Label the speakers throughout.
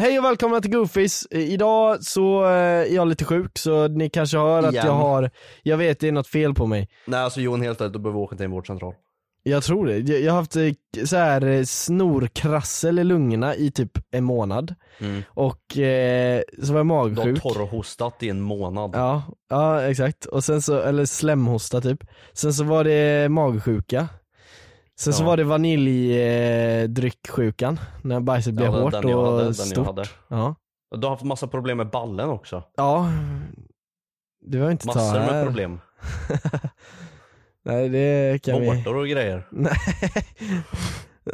Speaker 1: Hej och välkomna till Goofies. Eh, Idag så eh, är jag lite sjuk så ni kanske hör att
Speaker 2: Igen.
Speaker 1: jag har, jag vet det är något fel på mig.
Speaker 2: Nej alltså Johan helt ärligt, då behöver vi åka till en vårdcentral.
Speaker 1: Jag tror det. Jag jag har haft eh, k- så här eh, snorkrassel i lungorna i typ en månad.
Speaker 2: Mm.
Speaker 1: Och eh, så var jag
Speaker 2: Du har
Speaker 1: magsjuk.
Speaker 2: torrhostat i en månad.
Speaker 1: Ja, ja exakt. Och sen så, eller slemhosta typ. Sen så var det magsjuka. Sen så
Speaker 2: Ja.
Speaker 1: var det vaniljdrycksjukan, när bajset blev
Speaker 2: det var
Speaker 1: hårt
Speaker 2: den jag
Speaker 1: och
Speaker 2: hade, den jag
Speaker 1: stort.
Speaker 2: hade.
Speaker 1: Ja.
Speaker 2: Du har haft massa problem med ballen också.
Speaker 1: ja, det var inte
Speaker 2: Massor
Speaker 1: ta
Speaker 2: med
Speaker 1: här.
Speaker 2: problem.
Speaker 1: Nej det kan vi...
Speaker 2: Vårtor och grejer.
Speaker 1: Nej.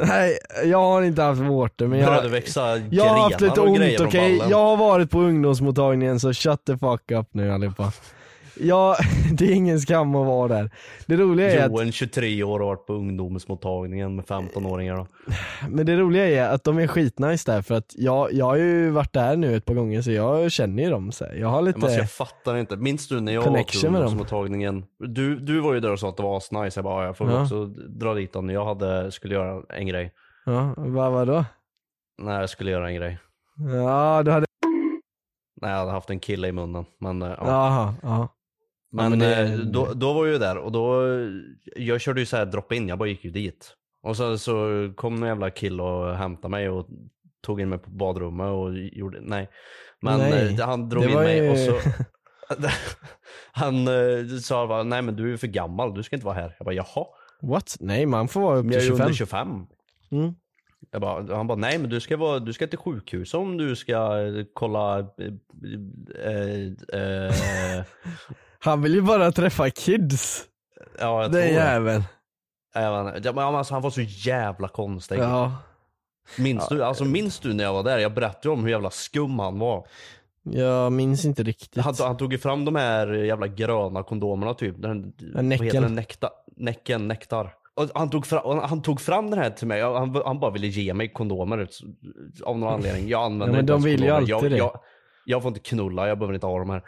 Speaker 1: Nej, jag har inte haft vårtor men jag,
Speaker 2: Började växa
Speaker 1: jag har haft lite
Speaker 2: grenar och
Speaker 1: ont
Speaker 2: grejer
Speaker 1: okej,
Speaker 2: från ballen.
Speaker 1: jag har varit på ungdomsmottagningen så shut the fuck up nu allihopa. Jag, det är ingen skam att vara där. Det roliga är att
Speaker 2: Johan 23 år har varit på ungdomsmottagningen med 15-åringar. då.
Speaker 1: Men det roliga är att de är skitnice där för att jag, jag har ju varit där nu ett par gånger så jag känner ju dem så här. Jag har lite,
Speaker 2: Men Alltså, jag fattar inte. Minns du när jag var
Speaker 1: Connection med
Speaker 2: på
Speaker 1: dem.
Speaker 2: ungdomsmottagningen? Du, du var ju där och sa att det var asnice. Jag bara, ja, jag får väl
Speaker 1: Ja.
Speaker 2: också dra dit dem. Jag hade, skulle göra en grej.
Speaker 1: ja, vad vadå?
Speaker 2: Nej, jag skulle göra en grej.
Speaker 1: Ja du hade,
Speaker 2: Nej, jag hade haft en kille i munnen. Men, eh, ja.
Speaker 1: jaha, ja. Ja,
Speaker 2: Men
Speaker 1: men det-
Speaker 2: eh, då, då var jag ju där och då, jag körde ju så här drop in, jag bara gick ju dit. Och sen så kom någon jävla kille och hämtade mig och tog in mig på badrummet och gjorde, nej. Men
Speaker 1: Nej,
Speaker 2: eh, han drog
Speaker 1: det
Speaker 2: in
Speaker 1: var
Speaker 2: mig
Speaker 1: ju-
Speaker 2: och så, han eh, sa bara, nej men du är för gammal, du ska inte vara här. Jag bara, jaha?
Speaker 1: What? Nej man får vara upp
Speaker 2: Men jag
Speaker 1: till
Speaker 2: är ju
Speaker 1: 25.
Speaker 2: under 25.
Speaker 1: Mm.
Speaker 2: Jag bara, han bara, nej men du ska, vara, du ska till sjukhus om du ska eh, kolla... eh, Eh, eh,
Speaker 1: Han vill ju bara träffa kids,
Speaker 2: ja, jag tror
Speaker 1: den
Speaker 2: det.
Speaker 1: jäveln.
Speaker 2: Ja, men- ja, men alltså, han var så jävla konstig.
Speaker 1: Ja.
Speaker 2: Minns, du, alltså, minns du när jag var där? Jag berättade om hur jävla skum han var.
Speaker 1: Jag minns inte riktigt.
Speaker 2: Han, han tog ju fram de här jävla gröna kondomerna typ. Den,
Speaker 1: Ja,
Speaker 2: Vad heter
Speaker 1: näcken.
Speaker 2: den? Nekta, näcken, nektar. Och han, tog fram, och han tog fram den här till mig. Jag- Han, han bara ville ge mig kondomer så- av någon anledning. Jag använder
Speaker 1: men
Speaker 2: inte
Speaker 1: de
Speaker 2: ens
Speaker 1: vill ju
Speaker 2: kondomer. jag,
Speaker 1: alltid det.
Speaker 2: Jag, jag får inte knulla, jag behöver inte ha de här.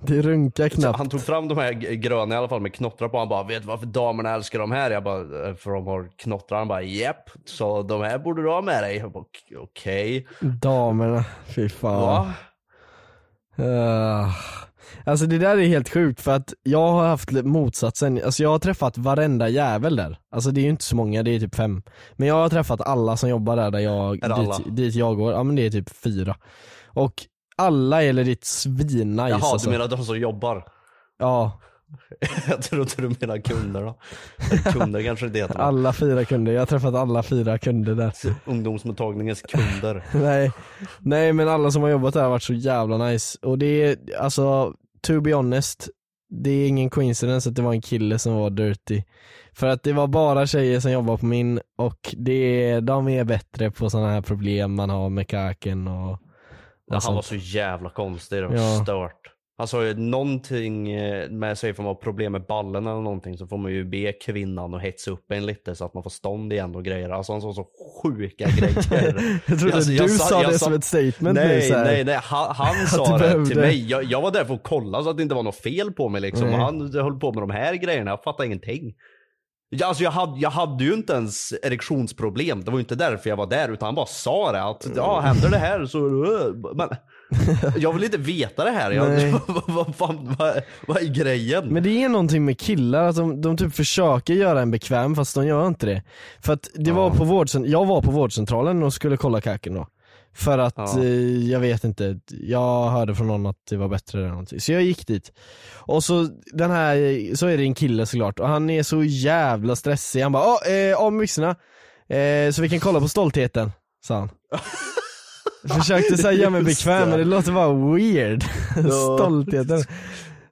Speaker 1: Det runkar
Speaker 2: Så
Speaker 1: knappt.
Speaker 2: han tog fram de här g- gröna i alla fall med knottrar på. Han bara, vet du varför damerna älskar de här? Jag bara, "Eh, för de har knottrar. Han bara, japp. Så de här borde du ha med dig. Jag bara, "Ok- okej.
Speaker 1: Damerna, fy fan.
Speaker 2: Va?
Speaker 1: Ah. Alltså det där är helt sjukt för att jag har haft li- motsatsen, alltså jag har träffat varenda jävel där. Alltså det är ju inte så många, det är typ fem. Men jag har träffat alla som jobbar där, där jag,
Speaker 2: Är det alla?
Speaker 1: dit, dit jag går, ja men det är typ fyra. Och alla är ditt svinnice
Speaker 2: Jaha,
Speaker 1: alltså.
Speaker 2: du menar de som jobbar?
Speaker 1: Ja,
Speaker 2: Jag trodde du menar kunderna. Kunder kanske det heter.
Speaker 1: alla fyra kunder, jag har träffat alla fyra kunder där.
Speaker 2: Ungdomsmottagningens kunder.
Speaker 1: Nej. Nej men alla som har jobbat där har varit så jävla nice. Och det är, alltså, to be honest, det är ingen coincidence att det var en kille som var dirty. För att det var bara tjejer som jobbade på min och det, är- de är bättre på sådana här problem man har med kaken och, och
Speaker 2: Han var
Speaker 1: sånt.
Speaker 2: så jävla konstig och
Speaker 1: Ja.
Speaker 2: stört. Alltså någonting eh, med sig om man har problem med ballen eller någonting så får man ju be kvinnan att hetsa upp en lite så att man får stånd igen och grejer. Alltså han sa så sjuka grejer.
Speaker 1: Jag trodde
Speaker 2: Alltså, jag
Speaker 1: du
Speaker 2: sa-
Speaker 1: sa
Speaker 2: jag
Speaker 1: det
Speaker 2: sa-
Speaker 1: som ett statement nu
Speaker 2: nej,
Speaker 1: så här.
Speaker 2: nej, nej, han, han
Speaker 1: du
Speaker 2: sa det
Speaker 1: behövde.
Speaker 2: till mig. Jag, jag var där för att kolla så att det inte var något fel på mig liksom. Och han höll på med de här grejerna, jag fattade ingenting. Ja, Alltså jag hade, jag hade ju inte ens erektionsproblem, det var ju inte därför jag var där utan han bara sa det att ja,
Speaker 1: Mm.
Speaker 2: händer det här så... eh, Men, jag vill inte veta det här. Jag,
Speaker 1: Nej.
Speaker 2: vad, vad, fan, vad, vad är grejen?
Speaker 1: Men det är någonting med killar, att de, de typ försöker göra en bekväm fast de gör inte det. För att det var på vårdcent- jag var på vårdcentralen och skulle kolla kaken då. För att,
Speaker 2: Ja.
Speaker 1: eh, jag vet inte, jag hörde från någon att det var bättre eller någonting. Så jag gick dit. Och så den här, så är det en kille såklart och han är så jävla stressig. Han bara "Ja, eh, om byxorna, eh, så vi kan kolla på stoltheten, sa han. Försökte säga göra mig
Speaker 2: Just
Speaker 1: bekväm men
Speaker 2: det.
Speaker 1: det låter bara weird. Stoltheten.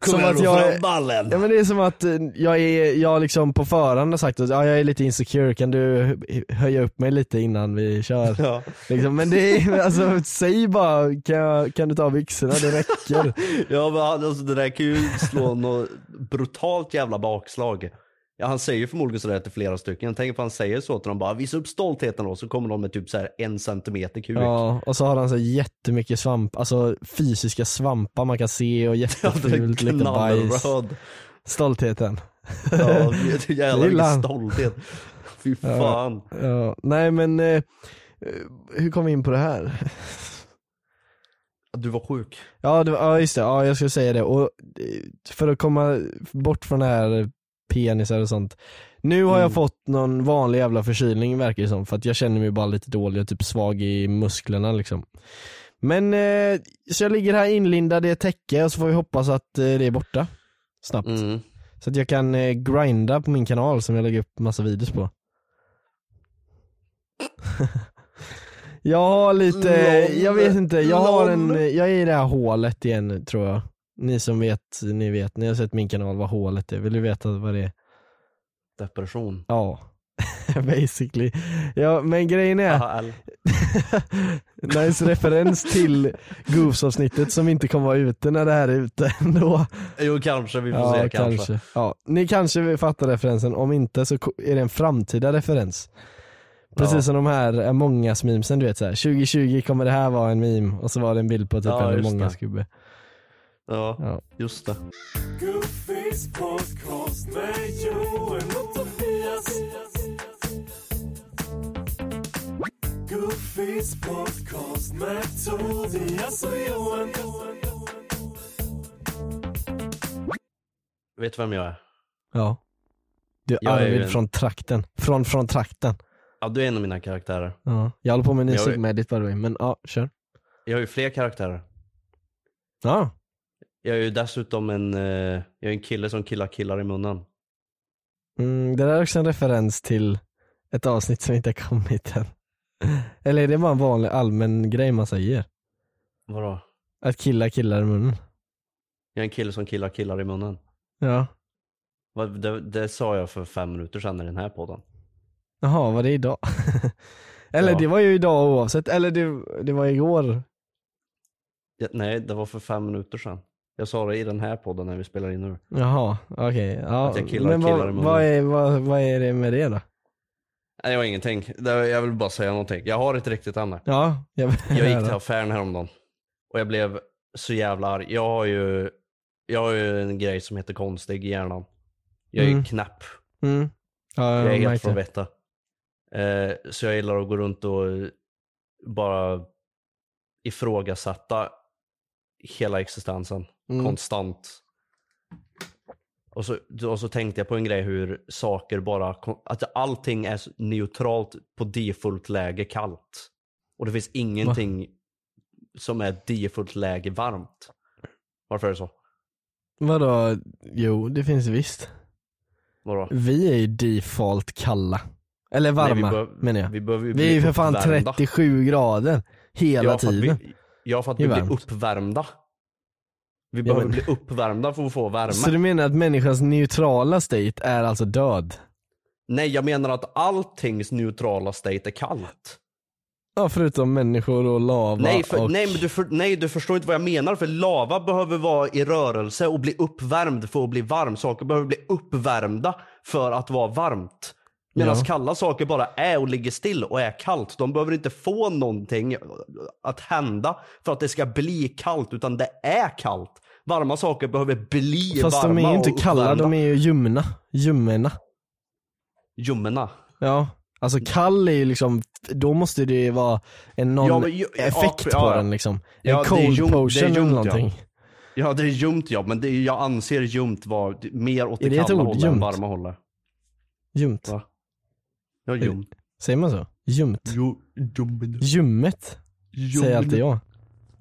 Speaker 1: Som att jag,
Speaker 2: ballen.
Speaker 1: Ja men det är som att eh, jag är, jag liksom på förhand har sagt att ja, jag är lite insecure, kan du hö- höja upp mig lite innan vi kör?
Speaker 2: Ja.
Speaker 1: Liksom, men det är, alltså säg bara, kan, jag, kan du ta av byxorna, det räcker.
Speaker 2: Ja men han- alltså, det där kan ju slå något brutalt jävla bakslag. Ja, han säger ju förmodligen sådär till flera stycken. Jag tänker på han säger så till dem bara visa upp stoltheten då så kommer de med typ så här en centimeter kuk.
Speaker 1: Ja, och så har han så här jättemycket svamp, alltså fysiska svampar man kan se och jättefult, lite bajs.
Speaker 2: knallröd.
Speaker 1: Stoltheten.
Speaker 2: Ja, jävlar
Speaker 1: Gillar
Speaker 2: vilken
Speaker 1: han.
Speaker 2: stolthet. Fy fan.
Speaker 1: Ja, nej men, eh, eh, hur kom vi in på det här?
Speaker 2: Du var sjuk.
Speaker 1: Ja, det, var- ja just det, ja, jag skulle säga det. Och eh, för att komma bort från det här penisar och sånt. Nu har jag fått någon vanlig jävla förkylning verkar det som, för att jag känner mig bara lite dålig och typ svag i musklerna liksom. Men, eh, så jag ligger här inlindad i ett täcke och så får vi hoppas att eh, det är borta snabbt.
Speaker 2: Mm.
Speaker 1: Så att jag kan eh, grinda på min kanal som jag lägger upp massa videos på. jag har lite, jag vet inte, jag har en, eh, jag är i det här hålet igen tror jag. Ni som vet, ni vet, ni har sett min kanal vad hålet är, vill du veta vad det är?
Speaker 2: Depression.
Speaker 1: Ja, basically. Ja, men grejen är,
Speaker 2: AL.
Speaker 1: nice referens till Goofs-avsnittet som inte kommer vara ute när det här är ute ändå.
Speaker 2: Jo kanske, vi får
Speaker 1: Alltså,
Speaker 2: se kanske.
Speaker 1: Ja, ni kanske fattar referensen, om inte så ko- är det en framtida referens. Precis
Speaker 2: Ja.
Speaker 1: som de här Among us-memesen du vet så här. 2020 kommer det här vara en meme och så var det en bild på typ
Speaker 2: Ja,
Speaker 1: en
Speaker 2: just
Speaker 1: Among
Speaker 2: det.
Speaker 1: us-gubbe.
Speaker 2: Ja,
Speaker 1: Ja.
Speaker 2: just det. Vet du vem jag är?
Speaker 1: Ja. Du
Speaker 2: Jag är ju
Speaker 1: Arvid
Speaker 2: en-
Speaker 1: från trakten. Från, från trakten.
Speaker 2: Ja, du är en av mina karaktärer.
Speaker 1: Ja. Jag håller på med en ny
Speaker 2: Jag är-
Speaker 1: sigma edit by the way, men ja, kör.
Speaker 2: Jag har ju fler karaktärer.
Speaker 1: Ja.
Speaker 2: Jag är ju dessutom en, eh, jag är en kille som killar killar i munnen.
Speaker 1: Mm, det där är också en referens till ett avsnitt som inte har kommit än. Eller är det bara en vanlig allmän grej man säger?
Speaker 2: Vadå?
Speaker 1: Att killar killar i munnen.
Speaker 2: Jag är en kille som killar killar i munnen.
Speaker 1: Ja.
Speaker 2: Vad- Det, det sa jag för fem minuter sedan i den här podden.
Speaker 1: Jaha, var det idag? Eller
Speaker 2: Ja.
Speaker 1: det var ju idag oavsett, eller det, det var igår.
Speaker 2: Ja, nej, det var för fem minuter sedan. Jag sa det i den här podden när vi spelar in nu.
Speaker 1: Jaha, okej. Ja.
Speaker 2: Att jag killar
Speaker 1: Men
Speaker 2: killar
Speaker 1: vad,
Speaker 2: i munnen.
Speaker 1: vad, är, vad, vad är det med det då?
Speaker 2: Nej, jag har ingenting. Det- Jag vill bara säga någonting. Jag har ett riktigt ämne.
Speaker 1: Ja, jag vill
Speaker 2: Jag gick till
Speaker 1: höra.
Speaker 2: affären häromdagen och jag blev så jävla arg. Jag har ju, jag har ju en grej som heter konstig i hjärnan. Jag är
Speaker 1: Mm.
Speaker 2: knäpp.
Speaker 1: Mm. Ja,
Speaker 2: Jag är helt
Speaker 1: märkte.
Speaker 2: från vettet. Eh, så jag gillar att gå runt och eh, bara ifrågasätta hela existensen
Speaker 1: Mm.
Speaker 2: konstant. Och så, och så tänkte jag på en grej hur saker bara, kon- att allting är så neutralt på default läge kallt. Och det finns ingenting som är default läge varmt. Varför är det så?
Speaker 1: Vadå? Jo, det finns visst.
Speaker 2: Vadå?
Speaker 1: Vi är ju default kalla. Eller varma,
Speaker 2: Nej, vi behöver-
Speaker 1: menar jag.
Speaker 2: Vi, behöver ju
Speaker 1: Vi är ju
Speaker 2: bli
Speaker 1: för fan
Speaker 2: uppvärmda.
Speaker 1: 37 grader hela
Speaker 2: ja, för att
Speaker 1: tiden.
Speaker 2: Vi, ja, för att vi
Speaker 1: Det är
Speaker 2: blir
Speaker 1: varmt.
Speaker 2: uppvärmda. Vi
Speaker 1: Ja,
Speaker 2: behöver
Speaker 1: men-
Speaker 2: bli uppvärmda för att få värme.
Speaker 1: Så du menar att människans neutrala state är alltså död?
Speaker 2: Nej, jag menar att alltings neutrala state är kallt.
Speaker 1: Ja, förutom människor och lava
Speaker 2: Nej, för,
Speaker 1: och...
Speaker 2: nej, men du för, nej, du förstår inte vad jag menar. För lava behöver vara i rörelse och bli uppvärmd för att bli varm. Saker behöver bli uppvärmda för att vara varmt. Medan
Speaker 1: Ja.
Speaker 2: kalla saker bara är och ligger still och är kallt. De behöver inte få någonting att hända för att det ska bli kallt, utan det är kallt. Varma saker behöver bli
Speaker 1: Fast
Speaker 2: varma
Speaker 1: de är ju inte
Speaker 2: och
Speaker 1: kalla, de
Speaker 2: uppvärmda.
Speaker 1: är ju ljumna. Ljummerna.
Speaker 2: ljumna.
Speaker 1: Ja. Alltså
Speaker 2: Mm.
Speaker 1: kall är ju liksom, då måste det ju vara en någon
Speaker 2: Ja, men ju- ja,
Speaker 1: effekt
Speaker 2: ja,
Speaker 1: på
Speaker 2: ja.
Speaker 1: den liksom.
Speaker 2: Ja,
Speaker 1: en
Speaker 2: det är
Speaker 1: cold
Speaker 2: ljum- det är
Speaker 1: potion eller
Speaker 2: ljumt, ja.
Speaker 1: någonting.
Speaker 2: Ja, det är ljumt ja, men det, är- jag anser ljumt vara mer åt
Speaker 1: Är
Speaker 2: det,
Speaker 1: det ett
Speaker 2: kalla
Speaker 1: ord,
Speaker 2: hållet än
Speaker 1: ljumt?
Speaker 2: varma hållet.
Speaker 1: Ljumt.
Speaker 2: Va? Ja, ljumt.
Speaker 1: Säger man så? Ljumt?
Speaker 2: Jo, ljum,
Speaker 1: Ljummet, säger alltid jag.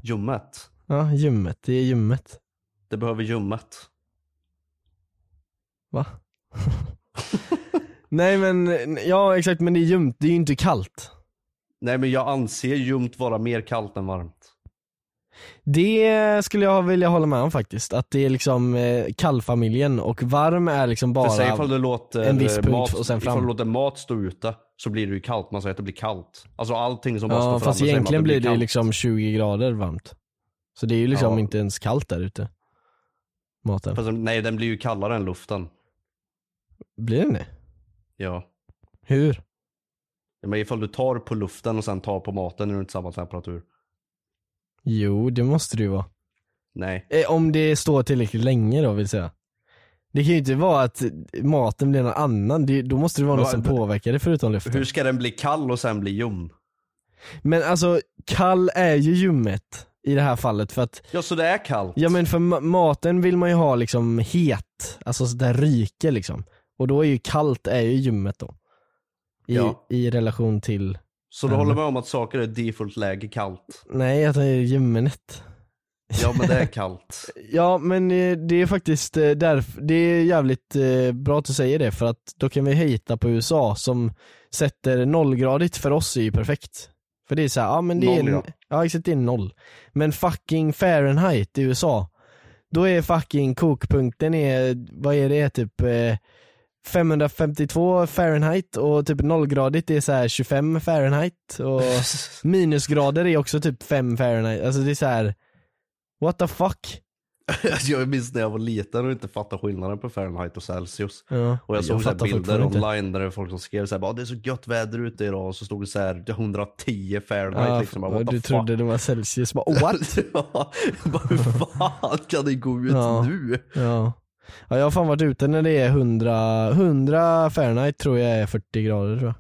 Speaker 2: Ljummet.
Speaker 1: Ja, ljummet. Det är ljummet.
Speaker 2: Det behöver ljummet.
Speaker 1: Va? Nej men, ja exakt men det är ljumt, det är ju inte kallt.
Speaker 2: Nej men jag anser ljumt vara mer kallt än varmt.
Speaker 1: Det skulle jag vilja hålla med om faktiskt, att det är liksom eh, kallfamiljen och varm är liksom
Speaker 2: För säg
Speaker 1: bara
Speaker 2: ifall du låter eh,
Speaker 1: en viss punkt
Speaker 2: mat,
Speaker 1: och sen fram.
Speaker 2: Ifall du låter mat stå ute så blir det ju kallt. Man säger att det blir kallt. Alltså allting som bara står
Speaker 1: Ja
Speaker 2: fram
Speaker 1: fast
Speaker 2: då säger man att
Speaker 1: egentligen blir det
Speaker 2: kallt.
Speaker 1: liksom 20 grader varmt. Så det är ju liksom
Speaker 2: Ja.
Speaker 1: inte ens kallt där ute. Maten.
Speaker 2: Fast, eh, nej den blir ju kallare än luften.
Speaker 1: Blir den det?
Speaker 2: Ja.
Speaker 1: Hur?
Speaker 2: Men ifall du tar på luften och sen tar på maten är det inte samma temperatur.
Speaker 1: Jo det måste det ju vara.
Speaker 2: Nej.
Speaker 1: Eh, Om det står tillräckligt länge då vill säga. Det kan ju inte vara att maten blir någon annan, det, då måste det vara
Speaker 2: Men
Speaker 1: något som
Speaker 2: vad-
Speaker 1: påverkar det förutom luften.
Speaker 2: Hur ska den bli kall och sen bli ljum?
Speaker 1: Men alltså kall är ju ljummet i det här fallet för att,
Speaker 2: Ja så det är kallt.
Speaker 1: ja men för ma- maten vill man ju ha liksom het, alltså så där ryker liksom. Och då är ju kallt är ju ljummet då. I,
Speaker 2: Ja.
Speaker 1: i relation till,
Speaker 2: Så du håller med om att saker är default läge kallt?
Speaker 1: nej att det är ljummenet.
Speaker 2: Ja men det är kallt.
Speaker 1: Ja men eh, det är faktiskt eh, därför, det är jävligt eh, bra att du säger det för att då kan vi hejta på USA som sätter nollgradigt för oss är ju perfekt. För det är såhär, ja men det är,
Speaker 2: Noll, ja.
Speaker 1: ja exakt det är noll. Men fucking Fahrenheit i USA, då är fucking kokpunkten är, vad är det typ eh, 552 Fahrenheit och typ nollgradigt är såhär 25 Fahrenheit och minusgrader är också typ 5 Fahrenheit, alltså det är såhär What the fuck?
Speaker 2: Alltså, jag minns när jag var liten och inte fattade skillnaden på Fahrenheit och Celsius.
Speaker 1: Ja,
Speaker 2: Och jag såg så här
Speaker 1: fattar
Speaker 2: bilder
Speaker 1: fortfarande inte.
Speaker 2: online där det var folk som skrev så här, bara, det är så gött väder ute idag. Och så stod det så här 110 Fahrenheit.
Speaker 1: Ja,
Speaker 2: liksom. Jag bara,
Speaker 1: och
Speaker 2: What the
Speaker 1: du
Speaker 2: fuck?
Speaker 1: trodde det var Celsius, bara what?
Speaker 2: ja, jag bara, hur fan kan det gå ut
Speaker 1: Ja.
Speaker 2: nu?
Speaker 1: ja. ja, jag har fan varit ute när det är 100, 100 Fahrenheit tror jag är 40 grader tror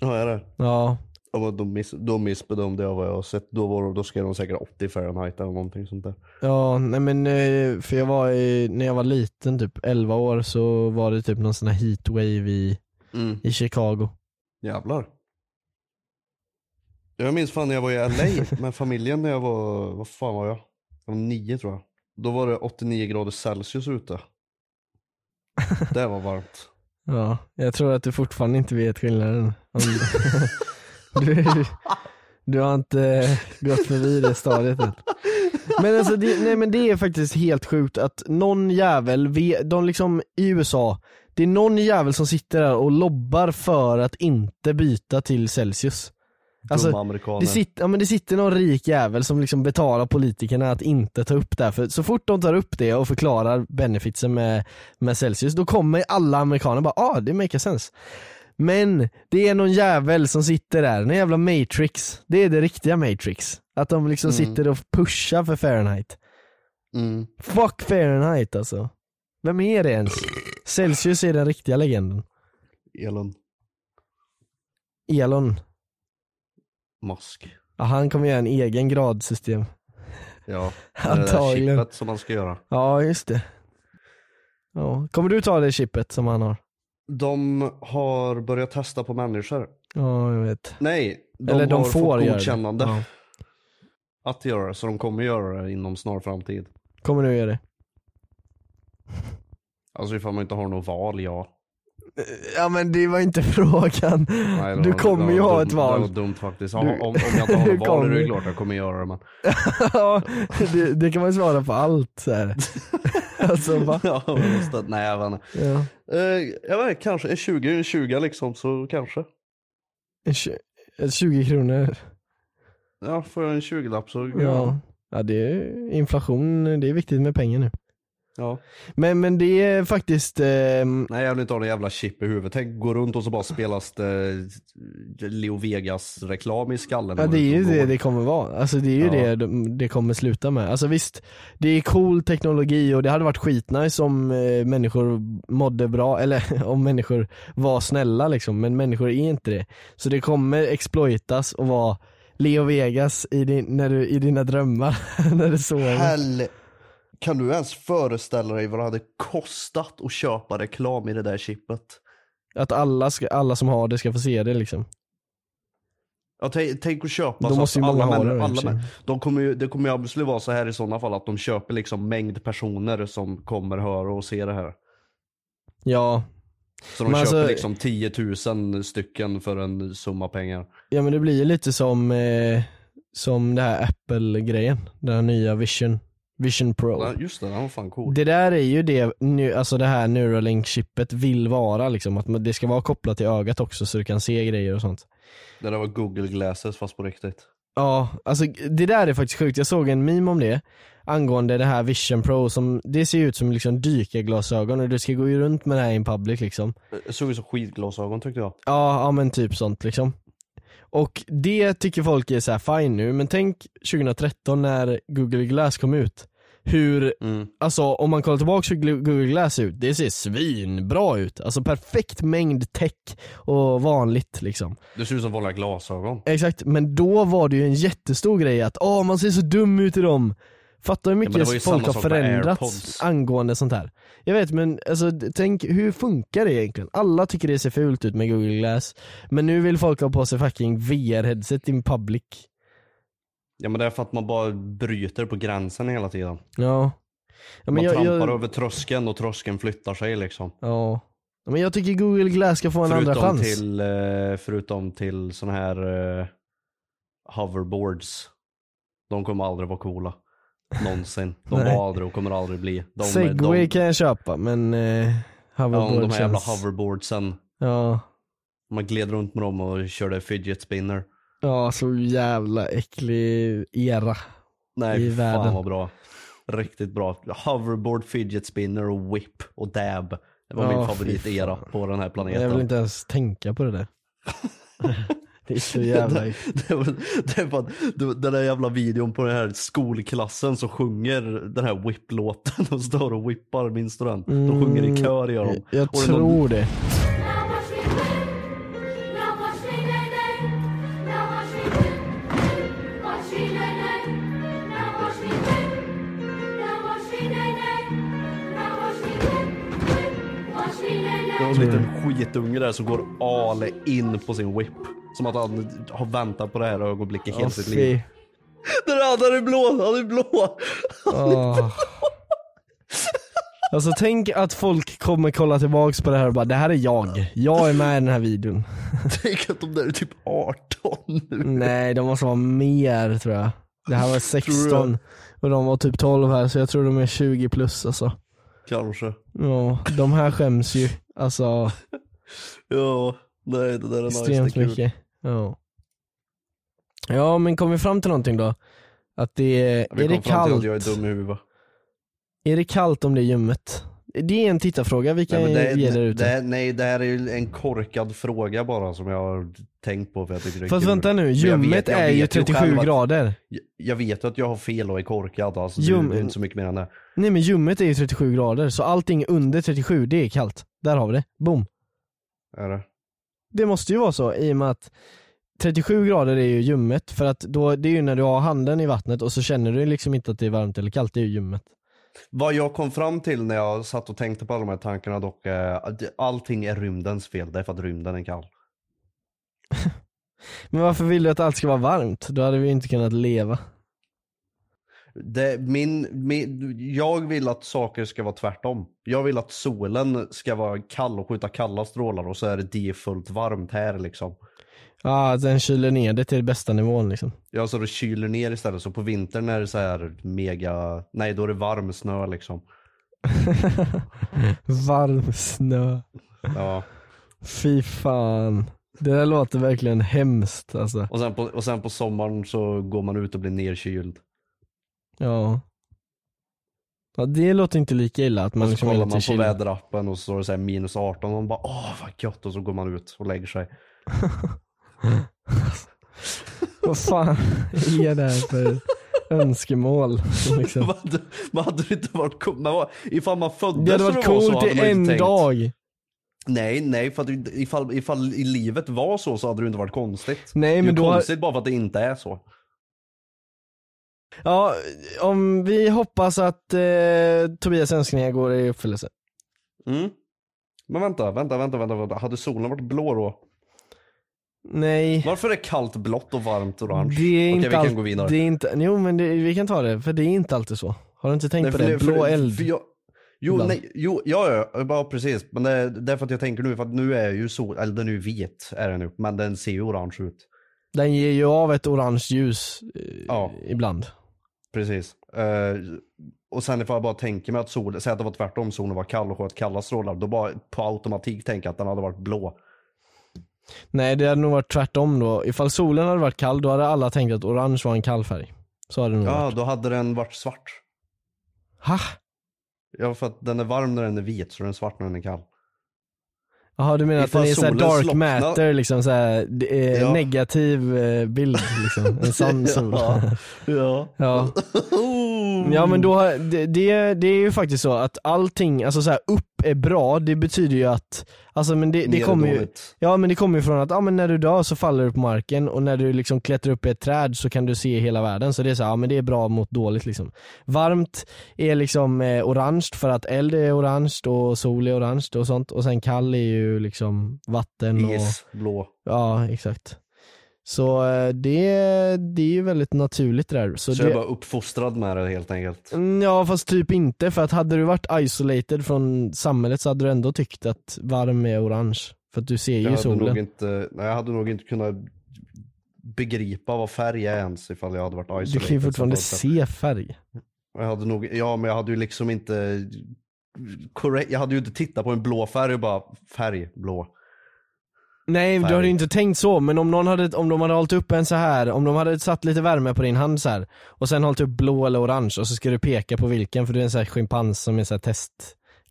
Speaker 1: jag.
Speaker 2: Ja, är det?
Speaker 1: Ja,
Speaker 2: Ja, men de, miss, de missbedömde jag vad jag har sett. Då, var, de- då skrev de säkert 80 Fahrenheit eller någonting sånt där.
Speaker 1: ja nej men eh, för jag var, i- när jag var liten typ 11 år så var det typ någon sån här heatwave i,
Speaker 2: Mm.
Speaker 1: i Chicago.
Speaker 2: Jävlar. Jag minns fan när jag var i LA med familjen när jag var, vad fan var jag? Jag var nio tror jag. Då var det 89 grader Celsius ute. Det var varmt.
Speaker 1: Ja, jag tror att du fortfarande inte vet skillnaden. Om, du, du har inte gått förbi det stadiet än. Men, alltså det, nej men det är faktiskt helt sjukt att någon jävel, ve- de liksom i USA, det är någon jävel som sitter där och lobbar för att inte byta till Celsius.
Speaker 2: Dumma amerikaner.
Speaker 1: Alltså, Det sitter, ja, men det sitter någon rik jävel som liksom betalar politikerna att inte ta upp det här. För så fort de tar upp det och förklarar benefitsen med, med Celsius, då kommer alla amerikaner bara ah, det make sense. Men det är någon jävel som sitter där, den jävla matrix. Det är det riktiga matrix. Att de liksom sitter och pushar för Fahrenheit.
Speaker 2: Mm.
Speaker 1: Fuck Fahrenheit alltså. Vem är det ens? Celsius är den riktiga legenden.
Speaker 2: Elon
Speaker 1: Elon,
Speaker 2: Musk.
Speaker 1: ja, han kommer göra en egen gradsystem.
Speaker 2: Ja, det
Speaker 1: Antagligen.
Speaker 2: där chippet som man ska göra.
Speaker 1: Ja, just det. Ja. Kommer du ta det chippet som han har?
Speaker 2: De har börjat testa på människor.
Speaker 1: Ja, jag vet.
Speaker 2: Nej, de,
Speaker 1: Eller de
Speaker 2: har
Speaker 1: får
Speaker 2: fått
Speaker 1: göra det.
Speaker 2: godkännande
Speaker 1: Ja.
Speaker 2: att göra det. Så de kommer göra det inom snar framtid.
Speaker 1: Kommer du göra det?
Speaker 2: Alltså ifall man inte har något val, ja.
Speaker 1: Ja men det var inte frågan.
Speaker 2: Nej, det
Speaker 1: du
Speaker 2: var-
Speaker 1: kommer
Speaker 2: det
Speaker 1: ju
Speaker 2: var
Speaker 1: ha
Speaker 2: dumt-
Speaker 1: ett val.
Speaker 2: Det var dumt faktiskt. Ja,
Speaker 1: Du-
Speaker 2: Om, om jag inte har
Speaker 1: du
Speaker 2: något val är det
Speaker 1: kommer.
Speaker 2: ju klart jag kommer göra det. Men...
Speaker 1: ja, det, det kan man ju svara på allt så här. Alltså va?
Speaker 2: ja, men just det. Nej, jag vet inte.
Speaker 1: Ja.
Speaker 2: Eh, jag vet inte, kanske en 20, en 20 liksom, så kanske.
Speaker 1: En tju- Eh, 20 kronor.
Speaker 2: Ja, får jag en 20-lapp så...
Speaker 1: Ja. ja, det är inflation, det är viktigt med pengar nu.
Speaker 2: ja.
Speaker 1: Men, men det är faktiskt, ehm,
Speaker 2: Nej jag vill inte ha någon jävla chip i huvudet. Tänk gå runt och så bara spelas det eh, Leo Vegas reklam i skallen.
Speaker 1: ja, det är ju
Speaker 2: Och
Speaker 1: det
Speaker 2: går.
Speaker 1: det kommer vara. Alltså det är ju
Speaker 2: Ja.
Speaker 1: det de- det kommer sluta med. Alltså visst, det är cool teknologi och det hade varit skitnice om eh, människor mådde bra, eller om människor var snälla liksom, men människor är inte det. Så det kommer exploitas och vara Leo Vegas i, din, när du, i dina drömmar, när du sover.
Speaker 2: Hell... Kan du ens föreställa dig vad det hade kostat att köpa reklam i det där chippet?
Speaker 1: Att alla, ska, alla som har det ska få se det liksom.
Speaker 2: Ja, tänk, tänk att köpa
Speaker 1: Då
Speaker 2: så
Speaker 1: måste
Speaker 2: att
Speaker 1: ju många ha
Speaker 2: alla, män,
Speaker 1: det då, i och
Speaker 2: alla
Speaker 1: för sig.
Speaker 2: män, de kommer ju, Det kommer ju absolut vara så här i sådana fall att de köper liksom mängd personer som kommer höra och se det här.
Speaker 1: Ja,
Speaker 2: Så de
Speaker 1: Men
Speaker 2: köper
Speaker 1: alltså-
Speaker 2: liksom 10 000 stycken för en summa pengar.
Speaker 1: Ja men det blir ju lite som, eh, som det här Apple-grejen, den här nya Vision, Vision Pro.
Speaker 2: Ja, just det, den var fan cool.
Speaker 1: Det där är ju det, nu, alltså det här Neuralink-chippet vill vara liksom, att man- det ska vara kopplat till ögat också så du kan se grejer och sånt.
Speaker 2: Det där var Google Glasses fast på riktigt.
Speaker 1: Ja, alltså det där är faktiskt sjukt. Jag såg en meme om det angående det här Vision Pro som, det ser ju ut som liksom dykarglasögon och du ska gå ju runt med det här in public liksom.
Speaker 2: Det såg ut som skidglasögon tyckte jag.
Speaker 1: Ja, ja men typ sånt liksom. Och det tycker folk är så här fine nu, men tänk 2013 när Google Glass kom ut. Hur, alltså om man kollar tillbaka hur Glo- Google Glass ser ut, det ser svinbra ut. Alltså perfekt mängd tech och vanligt liksom.
Speaker 2: Det ser ut som vanliga glasögon.
Speaker 1: Exakt, men då var det ju en jättestor grej att åh man ser så dum ut i dem. Fattar hur
Speaker 2: men det
Speaker 1: mycket
Speaker 2: var ju
Speaker 1: folk
Speaker 2: samma
Speaker 1: har
Speaker 2: sak med
Speaker 1: förändrats
Speaker 2: AirPods.
Speaker 1: angående sånt här. Jag vet men alltså d- tänk, hur funkar det egentligen? Alla tycker det ser fult ut med Google Glass, men nu vill folk ha på sig fucking VR-headset in public.
Speaker 2: Ja men det är för att man bara bryter på gränsen hela tiden.
Speaker 1: Ja. ja
Speaker 2: man trampar över tröskeln och tröskeln flyttar sig liksom.
Speaker 1: Ja. Ja, Men jag tycker Google Glass ska få en andra
Speaker 2: Förutom
Speaker 1: chans.
Speaker 2: till, eh, förutom till såna här eh, hoverboards. De kommer aldrig vara coola. Någonsin. De
Speaker 1: Nej.
Speaker 2: var aldrig och kommer aldrig bli. De,
Speaker 1: Segway
Speaker 2: de,
Speaker 1: kan jag köpa men eh,
Speaker 2: ja,
Speaker 1: hoverboard
Speaker 2: de här jävla
Speaker 1: känns-
Speaker 2: hoverboardsen.
Speaker 1: Ja.
Speaker 2: Man gled runt med dem och körde fidget spinner.
Speaker 1: ja, så jävla äcklig era.
Speaker 2: Nej,
Speaker 1: I
Speaker 2: fy fan
Speaker 1: världen.
Speaker 2: vad bra. Riktigt bra. Hoverboard, fidget spinner och whip och dab. Det var
Speaker 1: Ja,
Speaker 2: min
Speaker 1: fy
Speaker 2: favoritera
Speaker 1: fan.
Speaker 2: på den här planeten.
Speaker 1: Jag vill inte ens tänka på det där. det är så jävla
Speaker 2: det, det, var, det var, det- den där jävla videon på den här skolklassen som sjunger den här whip-låten. De står och whippar, minns du den? De sjunger i kör gör de.
Speaker 1: Mm,
Speaker 2: Och
Speaker 1: Jag
Speaker 2: det är någon-
Speaker 1: tror det.
Speaker 3: Now watch me whip. Now watch me nay nay. Now watch me whip. Watch me nay nay. Now watch me whip. Now watch me nay nay. Now watch me whip. Whip. Watch me nay nay.
Speaker 2: Det var en liten skitunge där som går all in på sin whip. Som att han har väntat på det här ögonblicket hela
Speaker 1: Åh,
Speaker 2: sitt
Speaker 1: fy.
Speaker 2: liv. Den andra är blå, han är blå!
Speaker 1: Åh. Alltså tänk att folk kommer kolla tillbaks på det här och bara det här är jag. Jag är med i den här videon.
Speaker 2: Tänk att de där är typ 18 nu.
Speaker 1: Nej de måste vara mer tror jag. Det här var 16 och de var typ 12 här så jag tror de är 20 plus alltså.
Speaker 2: Kanske.
Speaker 1: Ja, de här skäms ju. Alltså
Speaker 2: Ja, nej det där är nice.
Speaker 1: Extremt
Speaker 2: det är kul.
Speaker 1: mycket. Ja. ja men kom vi fram till någonting då? Att det är,
Speaker 2: Vi
Speaker 1: är det
Speaker 2: kom fram till
Speaker 1: kallt?
Speaker 2: att jag är dum i huvudet.
Speaker 1: Är det kallt om det är ljummet? Det är en tittarfråga vi kan
Speaker 2: Nej, men det,
Speaker 1: ge där
Speaker 2: det,
Speaker 1: ute.
Speaker 2: det, nej, det här är ju en korkad fråga bara som jag har tänkt på för jag tycker det är
Speaker 1: Fast
Speaker 2: kul.
Speaker 1: vänta nu,
Speaker 2: Men jag vet-
Speaker 1: ljummet
Speaker 2: jag
Speaker 1: är ju
Speaker 2: vet själv
Speaker 1: 37
Speaker 2: att-
Speaker 1: grader.
Speaker 2: Jag- Jag vet ju att jag har fel och är korkad alltså.
Speaker 1: Ljum-
Speaker 2: Det är inte så mycket mer än det.
Speaker 1: Nej men ljummet är ju 37 grader, så allting under 37 det är kallt. Där har vi det, boom.
Speaker 2: Är det?
Speaker 1: Det måste ju vara så i och med att 37 grader är ju ljummet för att då, det är ju när du har handen i vattnet och så känner du liksom inte att det är varmt eller kallt, det är ju ljummet.
Speaker 2: Vad jag kom fram till när jag satt och tänkte på alla de här tankarna dock, eh, att det- allting är rymdens fel. Det är för att rymden är kall.
Speaker 1: Men varför vill du att allt ska vara varmt? Då hade vi inte kunnat leva.
Speaker 2: Det, min, min, jag vill att saker ska vara tvärtom. Jag vill att solen ska vara kall och skjuta kalla strålar och så är det fullt varmt här liksom.
Speaker 1: Ja, den kyler ner det till bästa nivån liksom.
Speaker 2: Ja, så det kyler ner istället. Så på vintern är det så här mega, nej då är det varm snö liksom.
Speaker 1: Varm snö.
Speaker 2: Ja.
Speaker 1: Fy fan. Det där låter verkligen hemskt alltså.
Speaker 2: Och sen, på, och sen på sommaren så går man ut och blir nerkyld.
Speaker 1: Ja. Ja det låter inte lika illa att man
Speaker 2: och så
Speaker 1: liksom är
Speaker 2: kollar
Speaker 1: lite
Speaker 2: man på
Speaker 1: chill.
Speaker 2: väderappen och så står det så här minus 18 och man bara åh vad gött och så går man ut och lägger sig.
Speaker 1: Vad fan är det här för önskemål? Liksom.
Speaker 2: Man hade, man hade ju inte varit cool. Man var, ifall man föddes
Speaker 1: Det hade
Speaker 2: och
Speaker 1: varit
Speaker 2: var så
Speaker 1: coolt
Speaker 2: hade
Speaker 1: i
Speaker 2: man ju
Speaker 1: en
Speaker 2: inte tänkt.
Speaker 1: dag.
Speaker 2: Nej, nej, för att ifall, ifall i livet var så så hade det ju inte varit konstigt.
Speaker 1: Nej,
Speaker 2: det är
Speaker 1: men
Speaker 2: ju
Speaker 1: då har-
Speaker 2: konstigt bara för att det inte är så.
Speaker 1: Ja, om vi hoppas att eh, Tobias önskningar går i uppfyllelse.
Speaker 2: Mm. Men vänta, vänta, vänta, vänta, vänta. Hade solen varit blå då?
Speaker 1: Nej.
Speaker 2: Varför är det kallt blått och varmt orange?
Speaker 1: Det är inte
Speaker 2: Okej, vi kan
Speaker 1: allt-
Speaker 2: gå vidare.
Speaker 1: Det är inte, jo men det, vi kan ta det, för det är inte alltid så. Har du inte tänkt
Speaker 2: Nej,
Speaker 1: på
Speaker 2: för
Speaker 1: det?
Speaker 2: för
Speaker 1: Blå
Speaker 2: för
Speaker 1: eld.
Speaker 2: jag- Jo,
Speaker 1: Ibland.
Speaker 2: nej, jo, ja, ja, ja, precis. Men det är därför att jag tänker nu, för att nu är ju sol, eller den är ju vit, är den ju, men den ser ju orange ut.
Speaker 1: Den ger ju av ett orange ljus eh,
Speaker 2: Ja.
Speaker 1: ibland.
Speaker 2: Precis. Eh, och sen ifall jag bara tänker mig att solen, säg att det var tvärtom, solen var kall och sköt kalla strålar, då bara på automatik tänker jag att den hade varit blå.
Speaker 1: Nej det hade nog varit tvärtom då. Ifall solen hade varit kall då hade alla tänkt att orange var en kall färg. Så hade det nog
Speaker 2: Ja,
Speaker 1: varit.
Speaker 2: då hade den varit svart.
Speaker 1: Ha?
Speaker 2: Ja, för att den är varm när den är vit, så den är svart när den är kall.
Speaker 1: Jaha du menar att
Speaker 2: Ifall
Speaker 1: den är såhär
Speaker 2: solen
Speaker 1: dark
Speaker 2: slocknar-
Speaker 1: matter liksom såhär, det är en
Speaker 2: Ja.
Speaker 1: negativ eh, bild liksom. En sann sol.
Speaker 2: Ja. ja.
Speaker 1: ja. Ja men då, har- det, det, det är ju faktiskt så att allting, alltså så här, upp är bra, det betyder ju att, alltså men det, det
Speaker 2: Ner är
Speaker 1: kommer ju
Speaker 2: dåligt.
Speaker 1: Ja men det kommer ju från att, ja men när du dör så faller du på marken och när du liksom klättrar upp i ett träd så kan du se hela världen. Så det är så här, ja men det är bra mot dåligt liksom. Varmt är liksom eh, orange för att eld är orange och sol är orange och sånt och sen kall är ju liksom vatten och,
Speaker 2: Is, blå.
Speaker 1: ja exakt. Så eh, det, det är ju väldigt naturligt det där. Så
Speaker 2: Så
Speaker 1: det,
Speaker 2: jag är bara uppfostrad med det helt enkelt.
Speaker 1: Mm, Ja fast typ inte för att hade du varit isolated från samhället så hade du ändå tyckt att varm är orange. För att du ser ju
Speaker 2: Jag hade, nog
Speaker 1: solen.
Speaker 2: inte, nej, jag hade nog inte kunnat begripa vad färg är ens ifall jag hade varit isolated.
Speaker 1: Du kan ju fortfarande
Speaker 2: Så att-
Speaker 1: se färg.
Speaker 2: Jag hade nog, ja men jag hade ju liksom inte, korrekt, jag hade ju inte tittat på en blå färg och bara färg, blå.
Speaker 1: Nej du hade
Speaker 2: Färg.
Speaker 1: ju inte tänkt så men om, någon hade, om de hade hållit upp en så här om de hade satt lite värme på din hand så här och sen hållit upp blå eller orange och så ska du peka på vilken för du är en sån här schimpans som är en sån här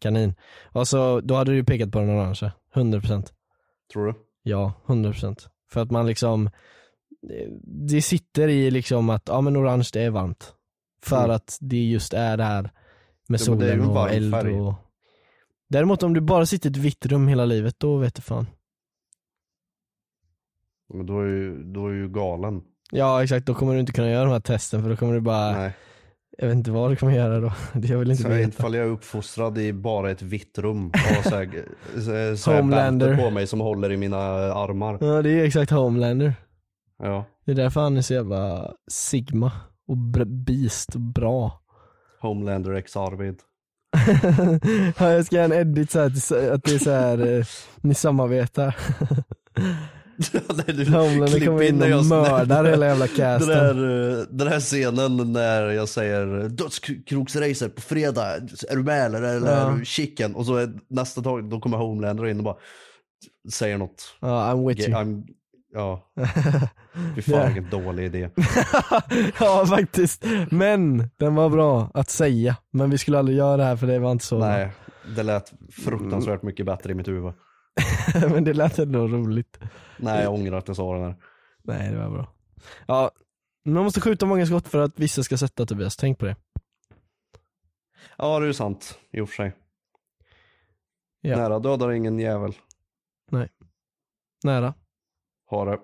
Speaker 1: testkanin. Och så, då hade du ju pekat på den orangea, 100%.
Speaker 2: Tror du?
Speaker 1: Ja, 100%. För att man liksom, det sitter i liksom att, ja men orange det är varmt. För
Speaker 2: Mm.
Speaker 1: att det just är det här med
Speaker 2: Ja, men det är ju
Speaker 1: solen
Speaker 2: en
Speaker 1: och
Speaker 2: varm
Speaker 1: eld
Speaker 2: färg.
Speaker 1: och... Däremot om du bara sitter i ett vitt rum hela livet, då vet du fan.
Speaker 2: Men då är ju, då är ju galen.
Speaker 1: Ja exakt, då kommer du inte kunna göra de här testen för då kommer du bara,
Speaker 2: Nej.
Speaker 1: jag vet inte vad du kommer göra då. Det jag vill inte
Speaker 2: Så jag,
Speaker 1: veta.
Speaker 2: ifall jag är uppfostrad i bara ett vitt rum och har så här, så- så här
Speaker 1: Homelander.
Speaker 2: bälte på mig som håller i mina armar.
Speaker 1: Ja det är ju exakt Homelander.
Speaker 2: Ja.
Speaker 1: Det är därför han är så jävla sigma och br- beast och bra.
Speaker 2: Homelander X Arvid.
Speaker 1: ja, jag ska göra en edit så här, att- så- att det är så här eh, ni samarbetar.
Speaker 2: Nej, du-
Speaker 1: Homelander
Speaker 2: klipp
Speaker 1: kommer
Speaker 2: in
Speaker 1: in
Speaker 2: när
Speaker 1: och
Speaker 2: jag-
Speaker 1: mördar hela jävla
Speaker 2: Den
Speaker 1: casten.
Speaker 2: här, eh, den här scenen när jag säger dödskroksracer på fredag, är du med eller, eller
Speaker 1: Ja.
Speaker 2: är du chicken? Och så är, nästa tag, då kommer Homelander in och bara säger något.
Speaker 1: Ja, I'm with you.
Speaker 2: I'm, ja, fy fan
Speaker 1: Det-
Speaker 2: vilken dålig idé.
Speaker 1: ja faktiskt. Men den var bra att säga. Men vi skulle aldrig göra det här för det var inte så.
Speaker 2: Nej, det lät fruktansvärt mycket bättre i mitt huvud.
Speaker 1: Men det lät ändå roligt.
Speaker 2: Nej, jag ångrar att jag sa den här.
Speaker 1: Nej det var bra. Ja, man måste skjuta många skott för att vissa ska sätta Tobias, tänk på det.
Speaker 2: Ja, det är ju sant i och för sig.
Speaker 1: Ja.
Speaker 2: Nära dödar ingen jävel.
Speaker 1: Nära.
Speaker 2: Har det.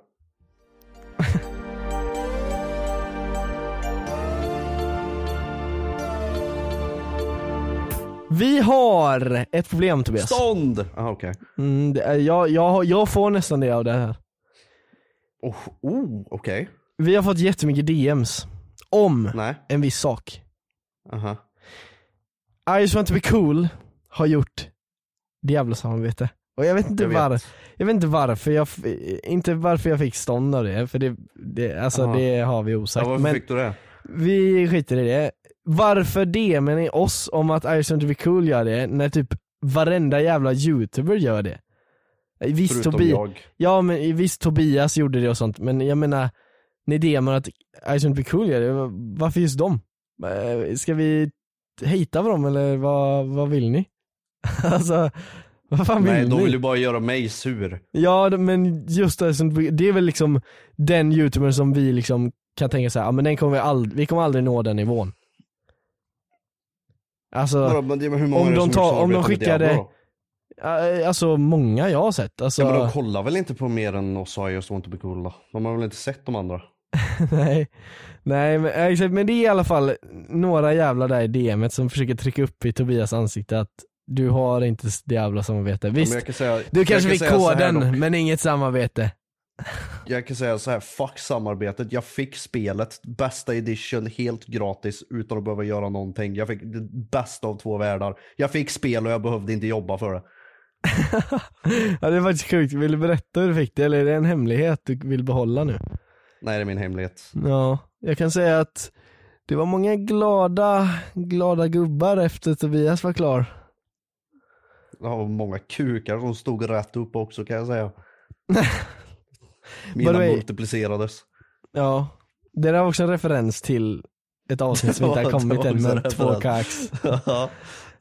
Speaker 1: Vi har ett problem Tobias.
Speaker 2: Stånd! Aha, okej.
Speaker 1: Mm, det är, jag, jag, har- jag får nästan det av det här.
Speaker 2: Oh, oh, okej.
Speaker 1: Vi har fått jättemycket DMs om
Speaker 2: Nej.
Speaker 1: en viss sak.
Speaker 2: Aha.
Speaker 1: I just want to be cool har gjort Diablo-samarbete. Och jag vet inte,
Speaker 2: Jag vet.
Speaker 1: Var, jag vet inte varför jag, f- inte varför jag fick stånd av det, för det, det, alltså
Speaker 2: Aha.
Speaker 1: det har vi
Speaker 2: Ja,
Speaker 1: osagt.
Speaker 2: varför
Speaker 1: Men
Speaker 2: fick du det?
Speaker 1: vi skiter i det. Varför DMen i oss om att I just want to be cool gör det, när typ varenda jävla youtuber gör det? Visst,
Speaker 2: Förutom
Speaker 1: Tobi-
Speaker 2: jag.
Speaker 1: ja, men, visst Tobias gjorde det och sånt, men jag menar Nedemon att I shouldn't be cool gör det, varför just dem? Eh, Ska vi hejta på dem eller vad, vad vill ni? alltså, vad fan vill
Speaker 2: Nej,
Speaker 1: ni?
Speaker 2: de vill ju bara göra mig sur.
Speaker 1: Ja de- men just det, som- det är väl liksom den youtuber som vi liksom kan tänka såhär, ja men den kommer vi aldrig, vi kommer aldrig nå den nivån. Alltså,
Speaker 2: Vadå, men det- men hur många
Speaker 1: om
Speaker 2: är det
Speaker 1: de
Speaker 2: som
Speaker 1: tar-
Speaker 2: gör
Speaker 1: om de
Speaker 2: samarbete med
Speaker 1: skickade-
Speaker 2: Diablo då?
Speaker 1: eh, alltså många jag har sett. Alltså,
Speaker 2: Ja men de kollar väl inte på mer än oss och just inte på coola. De har väl inte sett de andra?
Speaker 1: nej, nej men, eh, exakt, men det är i alla fall några jävlar där i DMet som försöker trycka upp i Tobias ansikte att du har inte Diablo-samarbete.
Speaker 2: Ja,
Speaker 1: Visst,
Speaker 2: men jag kan säga,
Speaker 1: du
Speaker 2: jag
Speaker 1: kanske
Speaker 2: kan
Speaker 1: fick
Speaker 2: säga så här
Speaker 1: koden
Speaker 2: dock.
Speaker 1: men inget samarbete.
Speaker 2: Jag kan säga så här, fuck samarbetet. Jag fick spelet, bästa edition, helt gratis utan att behöva göra någonting. Jag fick det bästa av två världar. Jag fick spel och jag behövde inte jobba för det.
Speaker 1: ja det är faktiskt sjukt, vill du berätta hur du fick det eller är det en hemlighet du vill behålla nu?
Speaker 2: Nej, det är min hemlighet.
Speaker 1: Ja, jag kan säga att det var många glada, glada gubbar efter Tobias var klar.
Speaker 2: Jag har många kukar som stod rätt upp också kan jag säga.
Speaker 1: By the
Speaker 2: Mina
Speaker 1: way-
Speaker 2: multiplicerades.
Speaker 1: Ja, det där var också en referens till ett avsnitt som
Speaker 2: Det
Speaker 1: inte har
Speaker 2: var-
Speaker 1: kommit
Speaker 2: det var
Speaker 1: än
Speaker 2: också
Speaker 1: med
Speaker 2: en
Speaker 1: två
Speaker 2: referens.
Speaker 1: kax.
Speaker 2: Ja.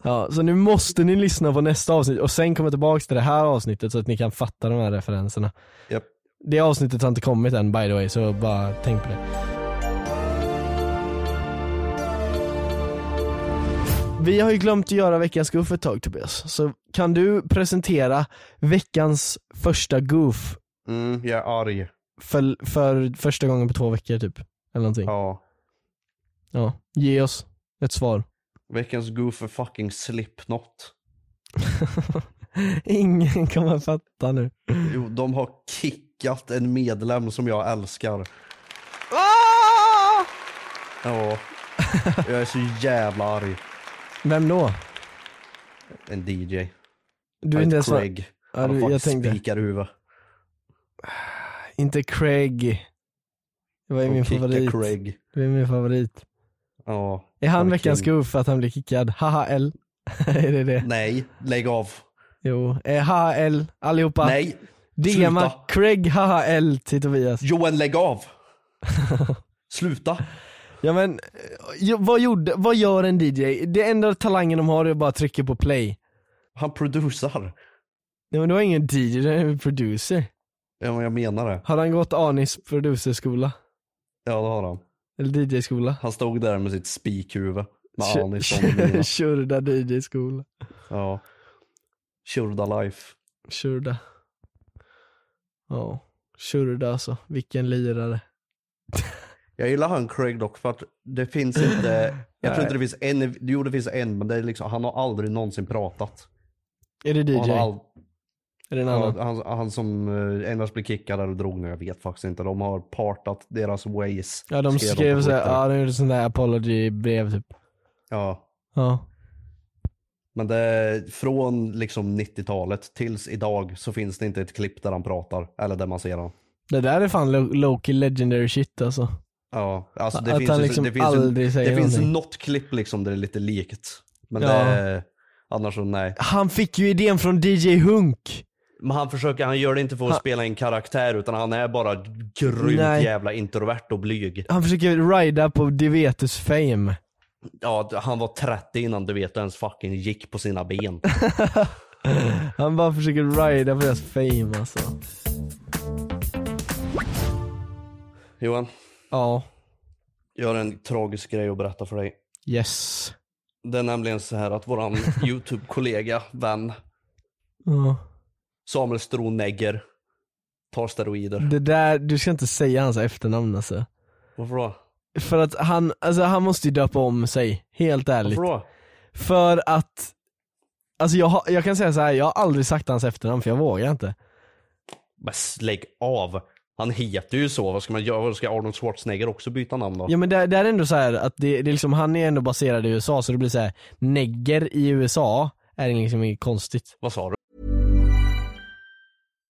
Speaker 1: Ja, så nu måste ni lyssna på nästa avsnitt och sen komma tillbaka till det här avsnittet så att ni kan fatta de här referenserna.
Speaker 2: Japp.
Speaker 1: Det avsnittet har inte kommit än by the way, så bara tänk på det. Vi har ju glömt att göra veckans goof ett tag Tobias, så kan du presentera veckans första goof
Speaker 2: Mm, jag är arg.
Speaker 1: för, för första gången på två veckor typ? Eller någonting. Ja.
Speaker 2: Ja.
Speaker 1: Ge oss ett svar.
Speaker 2: Veckans goof är fucking Slipknot.
Speaker 1: Ingen kommer fatta nu.
Speaker 2: Jo, de har kickat en medlem som jag älskar. Ja, jag är så jävla arg.
Speaker 1: Vem då?
Speaker 2: En DJ.
Speaker 1: Du är inte ens
Speaker 2: Craig.
Speaker 1: Ja,
Speaker 2: Han
Speaker 1: du,
Speaker 2: har
Speaker 1: jag
Speaker 2: faktiskt
Speaker 1: tänkte,
Speaker 2: spikar i huvudet.
Speaker 1: inte Craig. Det var ju
Speaker 2: Och
Speaker 1: min
Speaker 2: kickar
Speaker 1: favorit.
Speaker 2: Craig.
Speaker 1: Det är min favorit.
Speaker 2: Ja.
Speaker 1: Är han
Speaker 2: är
Speaker 1: veckans
Speaker 2: king.
Speaker 1: goof för att han blir kickad? Haha L. är det det?
Speaker 2: Nej, lägg av.
Speaker 1: Jo. Eh, Haha L. Allihopa.
Speaker 2: Nej,
Speaker 1: DMa
Speaker 2: sluta.
Speaker 1: Craig haha L till Tobias.
Speaker 2: Johan lägg av. Sluta.
Speaker 1: Ja men, eh, jo, vad, gjorde, vad gör en DJ? Det enda talangen de har är att bara trycka på play.
Speaker 2: Han producerar.
Speaker 1: Nej men du har ingen DJ, du är en producer.
Speaker 2: Ja, men jag menar det.
Speaker 1: Har han gått Anis producerskola?
Speaker 2: Ja, det har han.
Speaker 1: Eller DJ-skola?
Speaker 2: Han stod där med sitt spikhuvud. Med
Speaker 1: Kö-
Speaker 2: Anis som mina.
Speaker 1: Shurda DJ-skola.
Speaker 2: Ja. Shurda life.
Speaker 1: Shurda. Ja, Shurda alltså. Vilken lirare.
Speaker 2: Jag gillar han Craig dock för att det finns inte, jag tror inte det finns en, jo det finns en men det är liksom, han har aldrig någonsin pratat.
Speaker 1: Är det
Speaker 2: Och
Speaker 1: DJ?
Speaker 2: Han, har all,
Speaker 1: Är det en
Speaker 2: han,
Speaker 1: annan?
Speaker 2: har- han, han som eh, endast blev kickad eller drog nu, jag vet faktiskt inte. De har partat deras ways.
Speaker 1: Ja de
Speaker 2: på
Speaker 1: skrev "Ah." såhär,
Speaker 2: Twitter.
Speaker 1: ja de gjorde sån där apology-brev typ.
Speaker 2: Ja.
Speaker 1: Ja.
Speaker 2: Men det, från liksom 90-talet tills idag så finns det inte ett klipp där han pratar eller där man ser honom.
Speaker 1: Det där är fan lo- Loki legendary shit alltså.
Speaker 2: Ja, alltså det
Speaker 1: Att
Speaker 2: finns,
Speaker 1: han
Speaker 2: ju-
Speaker 1: liksom
Speaker 2: det finns, ju-
Speaker 1: aldrig säger
Speaker 2: det finns
Speaker 1: någonting.
Speaker 2: något klipp liksom där det är lite likt. Men
Speaker 1: Ja.
Speaker 2: det, annars så nej.
Speaker 1: Han fick ju idén från DJ Hunk.
Speaker 2: Men han försöker, han gör det inte för att
Speaker 1: Han-
Speaker 2: spela en karaktär utan han är bara grymt
Speaker 1: Nej.
Speaker 2: jävla introvert och blyg.
Speaker 1: Han försöker rida på Divetus fame.
Speaker 2: Ja, han var 30 innan du vet ens fucking gick på sina ben.
Speaker 1: Han bara försöker rida på deras fame alltså.
Speaker 2: Johan,
Speaker 1: Ja.
Speaker 2: jag har en tragisk grej att berätta för dig.
Speaker 1: Yes.
Speaker 2: Det är nämligen så här att våran YouTube-kollega, vän,
Speaker 1: Ja.
Speaker 2: Samuel Stronegger tar steroider.
Speaker 1: Det där, du ska inte säga hans efternamn alltså.
Speaker 2: Varför då?
Speaker 1: För att han, alltså han måste ju döpa om sig, helt ärligt.
Speaker 2: Varför då?
Speaker 1: För att, alltså jag, har- jag kan säga så här, jag har aldrig sagt hans efternamn för jag vågar inte.
Speaker 2: Men lägg av! Han heter ju så, vad ska man göra? Vad Ska Arnold Schwarzenegger också byta namn då?
Speaker 1: Ja men det, det är ändå så här att det, det är liksom, han är ändå baserad i USA så det blir så här, negger i USA är liksom inget konstigt.
Speaker 2: Vad sa du?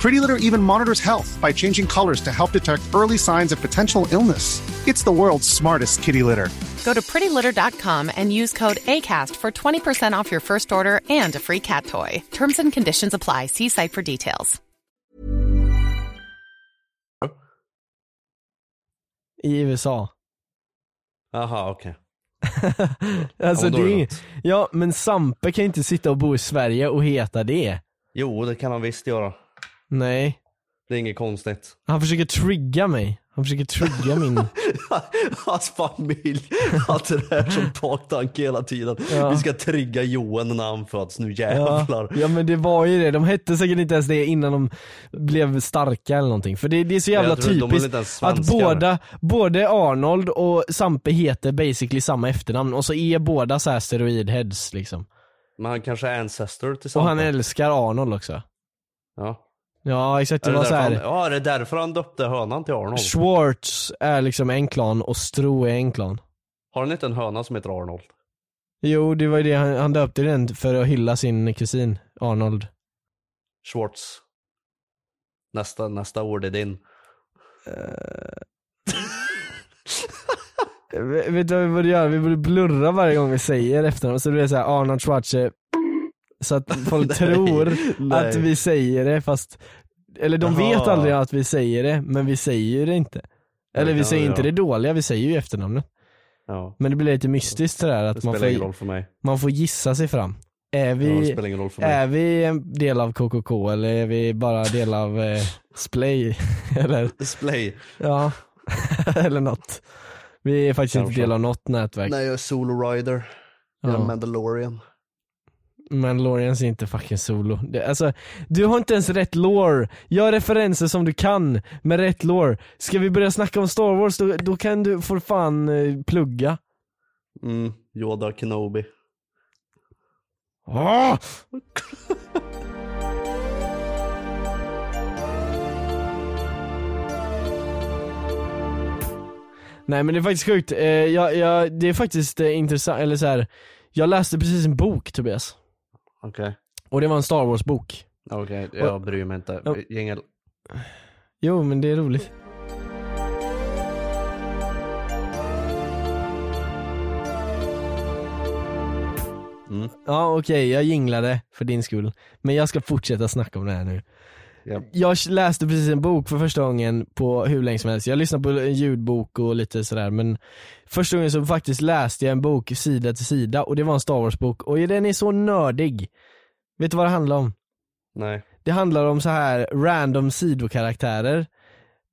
Speaker 4: Pretty Litter even monitors health by changing colors to help detect early signs of potential illness. It's the world's smartest kitty litter.
Speaker 5: Go to prettylitter.com and use code ACAST for 20% off your first order and a free cat toy. Terms and conditions apply. See site for details.
Speaker 1: I USA.
Speaker 2: Jaha, okej.
Speaker 1: alltså
Speaker 2: Ja, men då
Speaker 1: det
Speaker 2: är
Speaker 1: är
Speaker 2: det
Speaker 1: inget... Ja men Sampe kan ju inte sitta och bo i Sverige och heta det.
Speaker 2: Jo, det kan han visst göra.
Speaker 1: Nej.
Speaker 2: Det är inget konstigt.
Speaker 1: Han försöker trigga mig. Han försöker trigga min...
Speaker 2: Hans familj hade det här som taktanke hela tiden.
Speaker 1: Ja.
Speaker 2: Vi ska trigga Johan när han föds, nu
Speaker 1: Ja,
Speaker 2: jävlar.
Speaker 1: ja men det var ju det, de hette säkert inte ens det innan de blev starka eller någonting. För det, det är så jävla
Speaker 2: jag tror de är
Speaker 1: typiskt
Speaker 2: lite svenskar.
Speaker 1: att båda, både Arnold och Sampe heter basically samma efternamn och så är båda så här steroidheads liksom.
Speaker 2: Men han kanske är ancestor till
Speaker 1: Och
Speaker 2: Sampe.
Speaker 1: han älskar Arnold också.
Speaker 2: Ja.
Speaker 1: Ja exakt, det
Speaker 2: Är det
Speaker 1: var så
Speaker 2: därför
Speaker 1: här.
Speaker 2: han, ja, är det därför han döpte hönan till Arnold?
Speaker 1: Schwartz är liksom en klan och Stro är en klan.
Speaker 2: Har han inte en höna som heter Arnold?
Speaker 1: Jo det var ju det, han, han döpte den för att hylla sin kusin Arnold.
Speaker 2: Schwartz. Nästa, nästa ord är din.
Speaker 1: Eh, Vet du vad vi borde göra? Vi borde blurra varje gång vi säger efternamn så det blir såhär Arnold Schwarzer Så att folk tror
Speaker 2: nej.
Speaker 1: att vi säger det fast Eller de vet
Speaker 2: Jaha.
Speaker 1: aldrig att vi säger det men vi säger det inte Eller
Speaker 2: det
Speaker 1: vi
Speaker 2: kan
Speaker 1: säger
Speaker 2: vi
Speaker 1: inte
Speaker 2: göra.
Speaker 1: det dåliga, vi säger ju efternamnet
Speaker 2: Ja.
Speaker 1: Men det blir lite mystiskt sådär
Speaker 2: Det
Speaker 1: att man
Speaker 2: spelar ingen roll
Speaker 1: får,
Speaker 2: för mig.
Speaker 1: man får gissa sig fram Är
Speaker 2: Ja, det
Speaker 1: vi,
Speaker 2: spelar ingen roll för mig.
Speaker 1: är vi en del av KKK eller är vi bara del av eh, Splay? eller,
Speaker 2: Display.
Speaker 1: ja, eller något Vi är faktiskt inte
Speaker 2: Kanske.
Speaker 1: del av något nätverk
Speaker 2: Nej, jag är Solo Rider. Jag är
Speaker 1: Ja.
Speaker 2: Mandalorian.
Speaker 1: Men Lorians är inte fucking solo. Det, alltså, du har inte ens rätt lore. Gör referenser som du kan med rätt lore. Ska vi börja snacka om Star Wars då, då kan du för fan eh, plugga.
Speaker 2: Mm, Yoda Kenobi.
Speaker 1: Ah! Nej men det är faktiskt sjukt. Eh, jag, jag, det är faktiskt eh, intressant, eller så här. jag läste precis en bok Tobias.
Speaker 2: Okej.
Speaker 1: Och det var en Star Wars bok.
Speaker 2: Okej, jag bryr mig inte.
Speaker 1: Ja.
Speaker 2: Jingel.
Speaker 1: Jo men det är roligt.
Speaker 2: Mm.
Speaker 1: Ja okej, jag jinglade för din skull. Men jag ska fortsätta snacka om det här nu.
Speaker 2: Ja.
Speaker 1: Jag läste precis en bok för första gången på hur länge som helst. Jag lyssnade på en ljudbok och lite sådär men första gången så faktiskt läste jag en bok sida till sida och det var en Star Wars bok och den är så nördig. Vet du vad det handlar om?
Speaker 2: Nej.
Speaker 1: Det handlar om så här random sidokaraktärer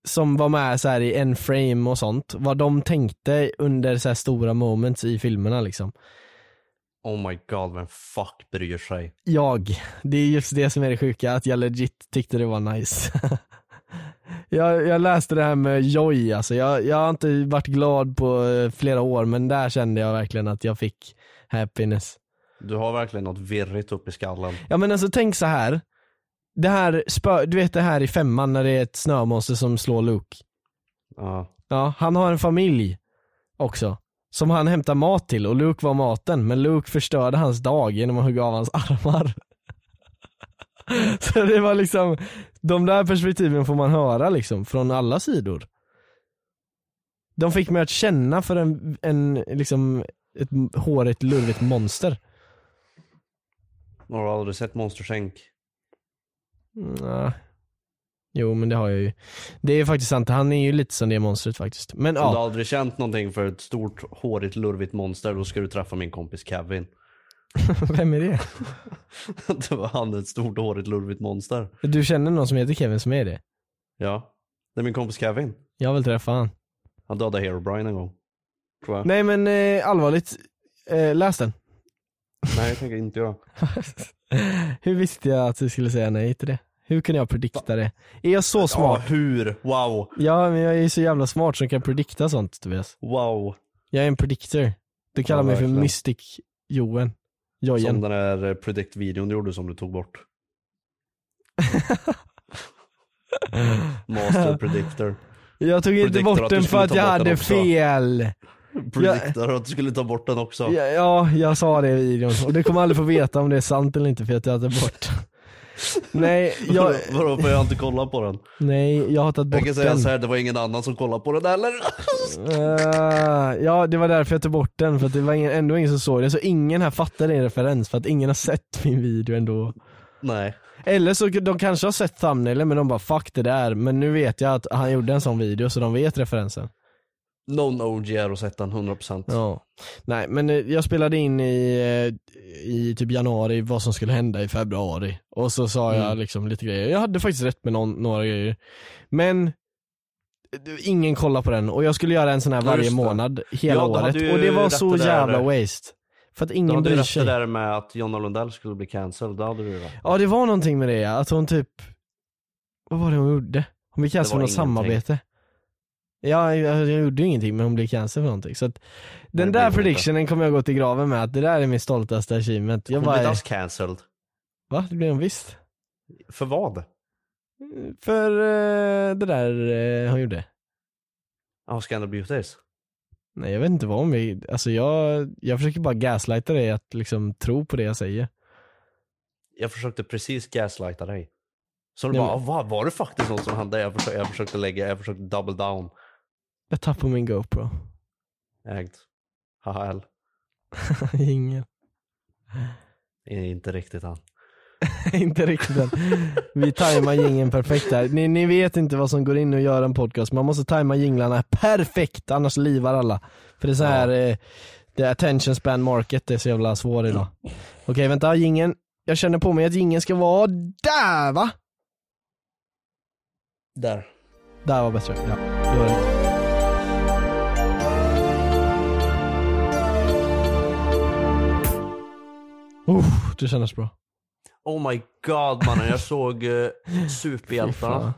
Speaker 1: som var med så här i en frame och sånt. Vad de tänkte under så här stora moments i filmerna liksom.
Speaker 2: Oh my god, vem fuck bryr sig?
Speaker 1: Jag. Det är just det som är det sjuka, att jag legit tyckte det var nice. jag, jag läste det här med joy alltså. Jag, jag har inte varit glad på eh, flera år men där kände jag verkligen att jag fick happiness.
Speaker 2: Du har verkligen något virrigt upp i skallen.
Speaker 1: Ja men alltså tänk så här. Det här spö, du vet det här i femman när det är ett snömonster som slår Luke.
Speaker 2: Ja.
Speaker 1: Ja, han har en familj också. Som han hämtar mat till och Luke var maten men Luke förstörde hans dag genom att hugga av hans armar. Så det var liksom, de där perspektiven får man höra liksom från alla sidor. De fick mig att känna för en, en liksom ett hårigt lurvigt monster.
Speaker 2: Har du aldrig sett Monstersänk?
Speaker 1: Mm, äh. Jo men det har jag ju. Det är faktiskt sant, han är ju lite som det monstret faktiskt. Men
Speaker 2: Om du
Speaker 1: ja,
Speaker 2: aldrig känt någonting för ett stort, hårigt, lurvigt monster, då ska du träffa min kompis Kevin.
Speaker 1: vem är det?
Speaker 2: det var han, ett stort, hårigt, lurvigt monster.
Speaker 1: Du känner någon som heter Kevin som är det?
Speaker 2: Ja. Det är min kompis Kevin.
Speaker 1: Jag vill träffa han.
Speaker 2: Han dödade Hero Brian en gång. Tror jag.
Speaker 1: Nej men eh, allvarligt, eh, läs den.
Speaker 2: Nej, jag tänker inte göra.
Speaker 1: hur visste jag att du skulle säga nej till det? Hur kunde jag predikta det? Är jag så smart?
Speaker 2: Ja, hur? Wow.
Speaker 1: Ja men jag är så jävla smart som kan predikta sånt Tobias.
Speaker 2: Wow.
Speaker 1: Jag är en predictor. Du kallar
Speaker 2: Ja,
Speaker 1: mig för
Speaker 2: verkligen.
Speaker 1: Mystic Joen. Jojen.
Speaker 2: Som den där eh, predict-videon du gjorde som du tog bort. Master predictor.
Speaker 1: Jag tog inte
Speaker 2: Predictor att
Speaker 1: bort
Speaker 2: du
Speaker 1: den för
Speaker 2: skulle
Speaker 1: att
Speaker 2: ta bort den
Speaker 1: jag hade
Speaker 2: också.
Speaker 1: fel.
Speaker 2: Predictor att du skulle ta bort den också.
Speaker 1: Ja, ja, jag sa det i videon och du kommer aldrig få veta om det är sant eller inte för att jag hade bort Nej, jag,
Speaker 2: Vadå, Vadå, får jag inte kolla på den?
Speaker 1: nej, jag har tagit
Speaker 2: Jag
Speaker 1: bort
Speaker 2: kan säga
Speaker 1: den.
Speaker 2: så här, det var ingen annan som kollade på den heller.
Speaker 1: Eh, ja, det var därför jag tog bort den för att det var ingen, ändå ingen som såg det. Så ingen här fattar din referens för att ingen har sett min video ändå.
Speaker 2: Nej.
Speaker 1: Eller så de kanske har sett thumbnailen men de bara 'fuck det där' men nu vet jag att han gjorde en sån video så de vet referensen.
Speaker 2: Någon OG har sett den, 100%.
Speaker 1: Ja. Nej men eh, jag spelade in i, eh, i typ januari vad som skulle hända i februari och så sa jag
Speaker 2: Mm.
Speaker 1: liksom lite grejer. Jag hade faktiskt rätt med någon, några grejer. Men eh, ingen kollar på den och jag skulle göra en sån här
Speaker 2: Ja,
Speaker 1: varje
Speaker 2: just det.
Speaker 1: månad hela
Speaker 2: Ja, du hade
Speaker 1: året
Speaker 2: ju
Speaker 1: och det var
Speaker 2: rätt
Speaker 1: så
Speaker 2: det där.
Speaker 1: jävla waste. För att
Speaker 2: Du
Speaker 1: ingen
Speaker 2: hade ju
Speaker 1: bryr
Speaker 2: rätt det
Speaker 1: sig.
Speaker 2: där med att Jonna Lundell skulle bli cancelled, det hade du ju rätt.
Speaker 1: Ja det var någonting med det ja. att hon typ, vad var det hon gjorde? Hon blev cancelled
Speaker 2: Det
Speaker 1: för
Speaker 2: var
Speaker 1: något
Speaker 2: ingenting.
Speaker 1: samarbete. Ja, jag, jag gjorde ju ingenting men hon blev cancelled för någonting. Så att, den
Speaker 2: det blev
Speaker 1: där
Speaker 2: hon
Speaker 1: predictionen kommer jag gå till graven med, att det där är min stoltaste achievement. Jag
Speaker 2: Hon
Speaker 1: bara,
Speaker 2: blev inte cancelled.
Speaker 1: va? Det blev hon visst.
Speaker 2: För vad?
Speaker 1: För eh, det där eh, hon gjorde.
Speaker 2: Ja, Scandal Beauties.
Speaker 1: Nej jag vet inte vad hon vill, alltså jag, jag försöker bara gaslighta dig att liksom tro på det jag säger.
Speaker 2: Jag försökte precis gaslighta dig. Så du
Speaker 1: Nej,
Speaker 2: bara,
Speaker 1: men-
Speaker 2: "Ah, vad var det faktiskt något som hände? Jag försökte, jag försökte lägga, jag försökte double down.
Speaker 1: Jag tappar min GoPro.
Speaker 2: Ägt. Haha, L.
Speaker 1: Ingen.
Speaker 2: Inte riktigt han.
Speaker 1: inte riktigt än. Vi tajmar jingeln perfekt där. Ni, ni vet inte vad som går in och gör en podcast. Man måste tajma jinglarna perfekt, annars livar alla. För det är så här, eh, det är attention span market det är så jävla svår idag. Okej vänta, jingeln. Jag känner på mig att jingeln ska vara där va?
Speaker 2: Där.
Speaker 1: Där var bättre. Ja, det var det. Uff, det kändes bra.
Speaker 2: Oh my god mannen, jag såg eh,
Speaker 1: Fy fan.
Speaker 2: Superhjältarna.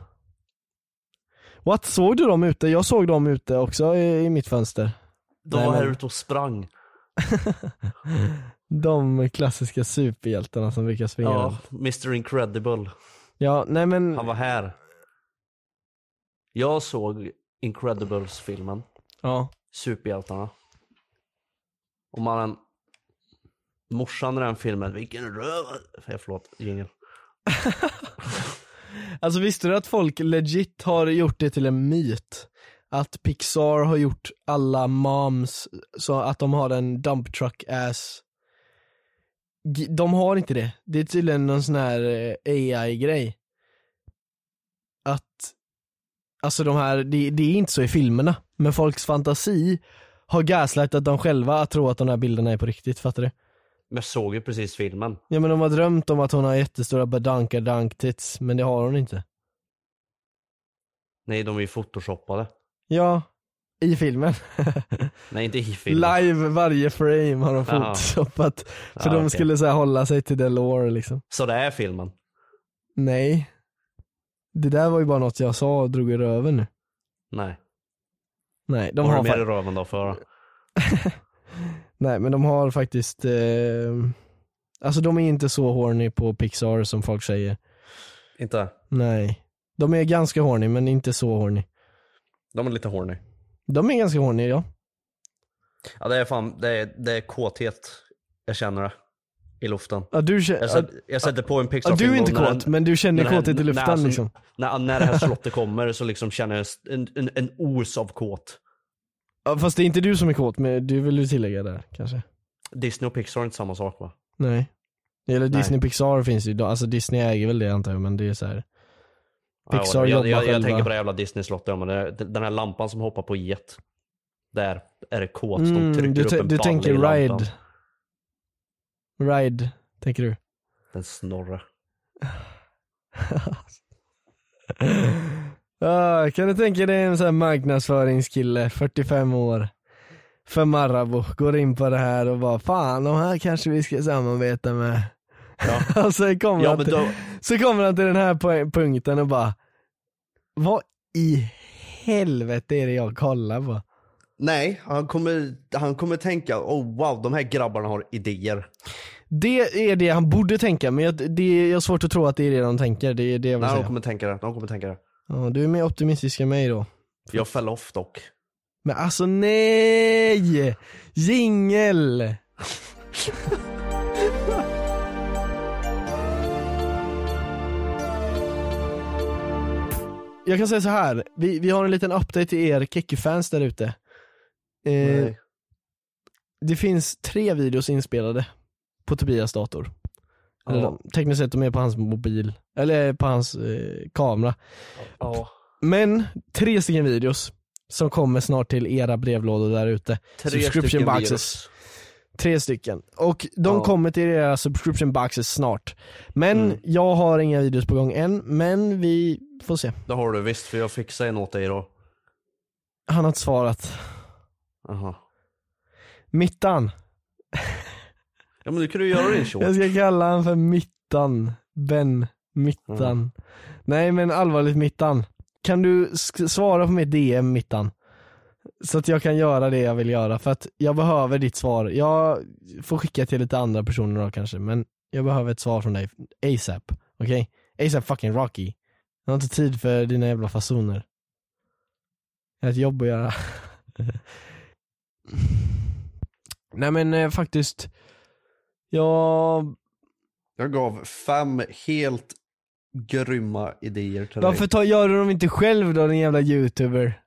Speaker 1: What, såg du dem ute? Jag såg dem ute också i, i mitt fönster.
Speaker 2: De
Speaker 1: Nej,
Speaker 2: var här
Speaker 1: men-
Speaker 2: ute och sprang.
Speaker 1: De klassiska superhjältarna som brukar springa
Speaker 2: Ja,
Speaker 1: ja.
Speaker 2: Mr Incredible.
Speaker 1: ja, nej men,
Speaker 2: Han var här. Jag såg Incredibles-filmen,
Speaker 1: ja.
Speaker 2: Superhjältarna. Och mannen, morsan i den filmen, vilken röv... Eh, Förlåt, jingel.
Speaker 1: Alltså visste du att folk legit har gjort det till en myt? Att Pixar har gjort alla moms så att de har en dump truck ass G- De har inte det. Det är tydligen någon sån här eh, AI-grej. Att, alltså de här, det, det är inte så i filmerna. Men folks fantasi har gaslightat dem själva att tro att de här bilderna är på riktigt, fattar du?
Speaker 2: Men jag såg ju precis filmen.
Speaker 1: Ja men de har drömt om att hon har jättestora badanka-dunk-tits, men det har hon inte.
Speaker 2: Nej, de är ju photoshoppade.
Speaker 1: Ja, i filmen.
Speaker 2: Nej, inte i filmen.
Speaker 1: Live varje frame har de
Speaker 2: Jaha.
Speaker 1: photoshopat. För
Speaker 2: Ja,
Speaker 1: de
Speaker 2: okej.
Speaker 1: skulle så här hålla sig till det lore liksom.
Speaker 2: Så det är filmen.
Speaker 1: Nej. Det där var ju bara något jag sa och drog i röven nu.
Speaker 2: Nej.
Speaker 1: Nej, de
Speaker 2: De har
Speaker 1: har
Speaker 2: du mer i
Speaker 1: fa-
Speaker 2: röven då för?
Speaker 1: Nej men de har faktiskt, eh... alltså de är inte så horny på Pixar som folk säger.
Speaker 2: Inte?
Speaker 1: Nej. De är ganska horny men inte så horny.
Speaker 2: De är lite horny.
Speaker 1: De är ganska horny ja.
Speaker 2: Ja, det är fan, det är, det är kåthet. Jag känner det. I luften.
Speaker 1: ja du känner,
Speaker 2: Jag, sätter- jag sätter på en
Speaker 1: ja,
Speaker 2: Pixar-film.
Speaker 1: du är inte
Speaker 2: och när
Speaker 1: kåt
Speaker 2: den-
Speaker 1: men du känner
Speaker 2: när den-
Speaker 1: kåthet i
Speaker 2: när-
Speaker 1: luften
Speaker 2: alltså,
Speaker 1: liksom.
Speaker 2: När, när det här slottet kommer så liksom känner jag en, en, en os av kåt.
Speaker 1: Ja, fast det är inte du som är kåt men du vill ju tillägga där kanske.
Speaker 2: Disney och Pixar är inte samma sak va?
Speaker 1: Nej. Eller
Speaker 2: Nej.
Speaker 1: Disney Pixar finns ju, då- alltså Disney äger väl det antar jag men det är så här.
Speaker 2: Ja,
Speaker 1: Pixar
Speaker 2: jag,
Speaker 1: jobbar
Speaker 2: jag, jag, jag
Speaker 1: själva.
Speaker 2: tänker på det jävla Disney-slottet. ja, men det- Den här lampan som hoppar på jet. Där är det kåt.
Speaker 1: Mm,
Speaker 2: de trycker
Speaker 1: du,
Speaker 2: upp
Speaker 1: te-
Speaker 2: en
Speaker 1: du
Speaker 2: balle
Speaker 1: tänker
Speaker 2: i
Speaker 1: Ride.
Speaker 2: lampan.
Speaker 1: Ride, tänker du.
Speaker 2: Den snorrar.
Speaker 1: Ja, kan du tänka dig en sån här marknadsföringskille, 45 år, för Marabou, går in på det här och bara fan de här kanske vi ska samarbeta med. och så kommer,
Speaker 2: Ja,
Speaker 1: han
Speaker 2: men
Speaker 1: till,
Speaker 2: då-
Speaker 1: så kommer han till den här poäng- punkten och bara Vad i helvete är det jag kollar på?
Speaker 2: Nej, han kommer, han kommer tänka oh wow, de här grabbarna har idéer.
Speaker 1: Det är det han borde tänka men jag, det, jag har svårt att tro att det är det de tänker, det är det jag vill
Speaker 2: Nej, de
Speaker 1: säga.
Speaker 2: kommer tänka det. De kommer tänka det.
Speaker 1: Ja, du är mer optimistisk än mig då.
Speaker 2: Jag fell off dock.
Speaker 1: Men alltså nej! Jingel! Jag kan säga så här. Vi, vi har en liten update till er Kekki-fans där ute. Eh,
Speaker 2: Nej.
Speaker 1: det finns tre videos inspelade på Tobias dator. Eller
Speaker 2: Ja.
Speaker 1: de, tekniskt sett de är på hans mobil, eller på hans eh, kamera.
Speaker 2: Ja.
Speaker 1: Men tre stycken videos som kommer snart till era brevlådor där ute. Subscription
Speaker 2: stycken
Speaker 1: boxes.
Speaker 2: virus.
Speaker 1: Tre stycken. Och de
Speaker 2: Ja.
Speaker 1: kommer till era subscription boxes snart. Men
Speaker 2: Mm.
Speaker 1: jag har inga videos på gång än, men vi får se.
Speaker 2: Det har du visst, för jag fixade en åt dig då.
Speaker 1: Han har inte svarat.
Speaker 2: Aha.
Speaker 1: Mittan.
Speaker 2: Ja men nu kan du göra din short.
Speaker 1: Jag ska kalla han för Mittan. Ben Mittan. Nej men allvarligt Mittan. Kan du sk- svara på mitt DM Mittan? Så att jag kan göra det jag vill göra för att jag behöver ditt svar. Jag får skicka till lite andra personer då kanske men jag behöver ett svar från dig ASAP. Okej? ASAP fucking Rocky. Jag har inte tid för dina jävla fasoner. Jag har ett jobb att göra. Nej men eh, faktiskt, jag
Speaker 2: Jag gav fem helt grymma idéer till
Speaker 1: Varför
Speaker 2: dig.
Speaker 1: tar, gör du dem inte själv då din jävla youtuber?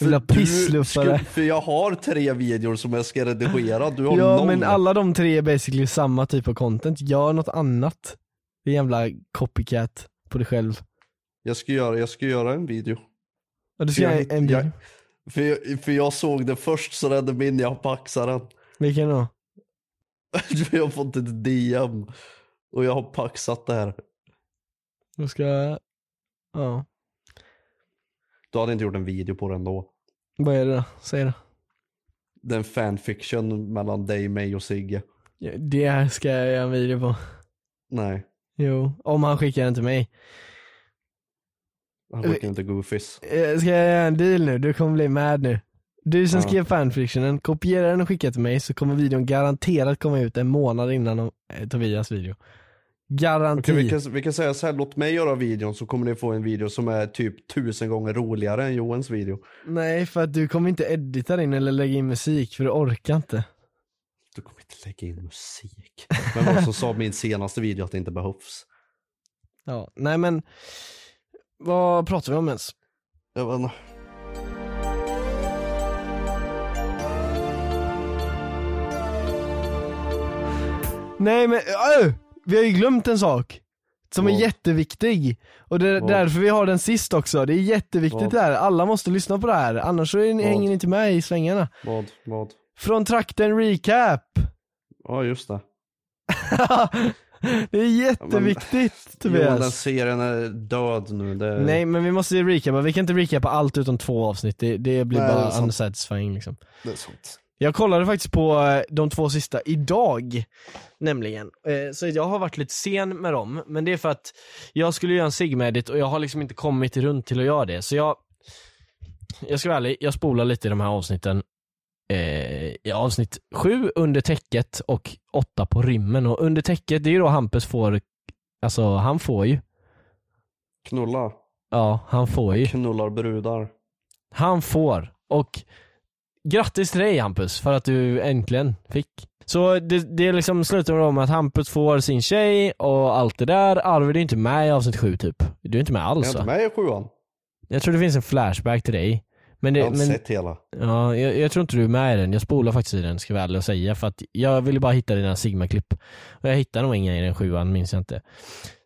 Speaker 1: jävla
Speaker 2: du
Speaker 1: pissluffare.
Speaker 2: skulle- För jag har tre videor som jag ska redigera, du har
Speaker 1: Ja
Speaker 2: noll.
Speaker 1: men alla de tre är basically samma typ av content, gör något annat. Det är jävla copycat på dig själv.
Speaker 2: jag, ska göra, jag ska göra en video.
Speaker 1: Ja, du ska göra
Speaker 2: hitt-
Speaker 1: en video.
Speaker 2: Jag, för, jag, för jag såg det först så räddade min jag paxade den.
Speaker 1: Vilken då?
Speaker 2: jag har fått ett DM och jag har paxat det här.
Speaker 1: Jag ska, ja.
Speaker 2: Du hade inte gjort en video på den då.
Speaker 1: Vad är det då? Säg det.
Speaker 2: Det är en fanfiction mellan dig, mig och Sigge.
Speaker 1: Ja, Det här ska jag göra en video på.
Speaker 2: Nej,
Speaker 1: Jo, om han skickar den till mig.
Speaker 2: han skickar inte goofies.
Speaker 1: Eh, Ska jag göra en deal nu? Du kommer bli mad nu. Du som
Speaker 2: Ja.
Speaker 1: skrev fanfictionen, kopiera den och skicka till mig så kommer videon garanterat komma ut en månad innan eh, Tobias video. Garanti.
Speaker 2: Okej, vi, kan, vi kan säga så här, låt mig göra videon så kommer ni få en video som är typ tusen gånger roligare än Johans video.
Speaker 1: Nej, för att du kommer inte edita in eller lägga in musik för du orkar inte.
Speaker 2: Du kommer inte lägga in musik. Men vad som sa min senaste video att det inte behövs.
Speaker 1: Ja, nej men vad pratar vi om ens?
Speaker 2: Jag vet inte.
Speaker 1: Nej men öh! vi har ju glömt en sak som är
Speaker 2: Vad?
Speaker 1: jätteviktig och det är
Speaker 2: Vad?
Speaker 1: därför vi har den sist också. Det är jätteviktigt
Speaker 2: Vad?
Speaker 1: det här. Alla måste lyssna på det här annars så är ni,
Speaker 2: Vad?
Speaker 1: hänger ni inte med i svängarna.
Speaker 2: Vad, vad?
Speaker 1: Från trakten recap!
Speaker 2: Ja, just det.
Speaker 1: det är jätteviktigt
Speaker 2: Johan, den
Speaker 1: Tobias.
Speaker 2: serien är död nu. Det...
Speaker 1: Nej men vi måste ju recapa, vi kan inte recapa allt utom två avsnitt. Det, det blir
Speaker 2: Nej, det
Speaker 1: bara
Speaker 2: är sant.
Speaker 1: unsatisfying liksom.
Speaker 2: Det är sant.
Speaker 1: Jag kollade faktiskt på eh, de två sista idag, nämligen. Eh, Så jag har varit lite sen med dem, men det är för att jag skulle göra en sigma-edit och jag har liksom inte kommit runt till att göra det. Så jag, jag ska vara ärlig, jag spolar lite i de här avsnitten. Eh, I avsnitt sju, Under täcket och åtta på rymmen. Och Under täcket, det är ju då Hampus får, alltså han får ju.
Speaker 2: Knulla.
Speaker 1: Ja, han får ju.
Speaker 2: Knullar brudar.
Speaker 1: Han får. Och grattis till dig Hampus för att du äntligen fick. Så det, det liksom slutar med om att Hampus får sin tjej och allt det där. Arvid är inte med i avsnitt sju typ. Du är inte med
Speaker 2: Är
Speaker 1: alls
Speaker 2: jag
Speaker 1: va?
Speaker 2: inte med i sjuan?
Speaker 1: Jag tror det finns en flashback till dig. Men
Speaker 2: Jag har
Speaker 1: det,
Speaker 2: inte
Speaker 1: men,
Speaker 2: sett hela.
Speaker 1: ja, jag, jag tror inte du är med i den. Jag spolar faktiskt i den ska jag vara ärlig och säga. För att jag ville bara hitta dina Sigma-klipp. Och jag hittade nog inga i den sjuan, minns jag inte.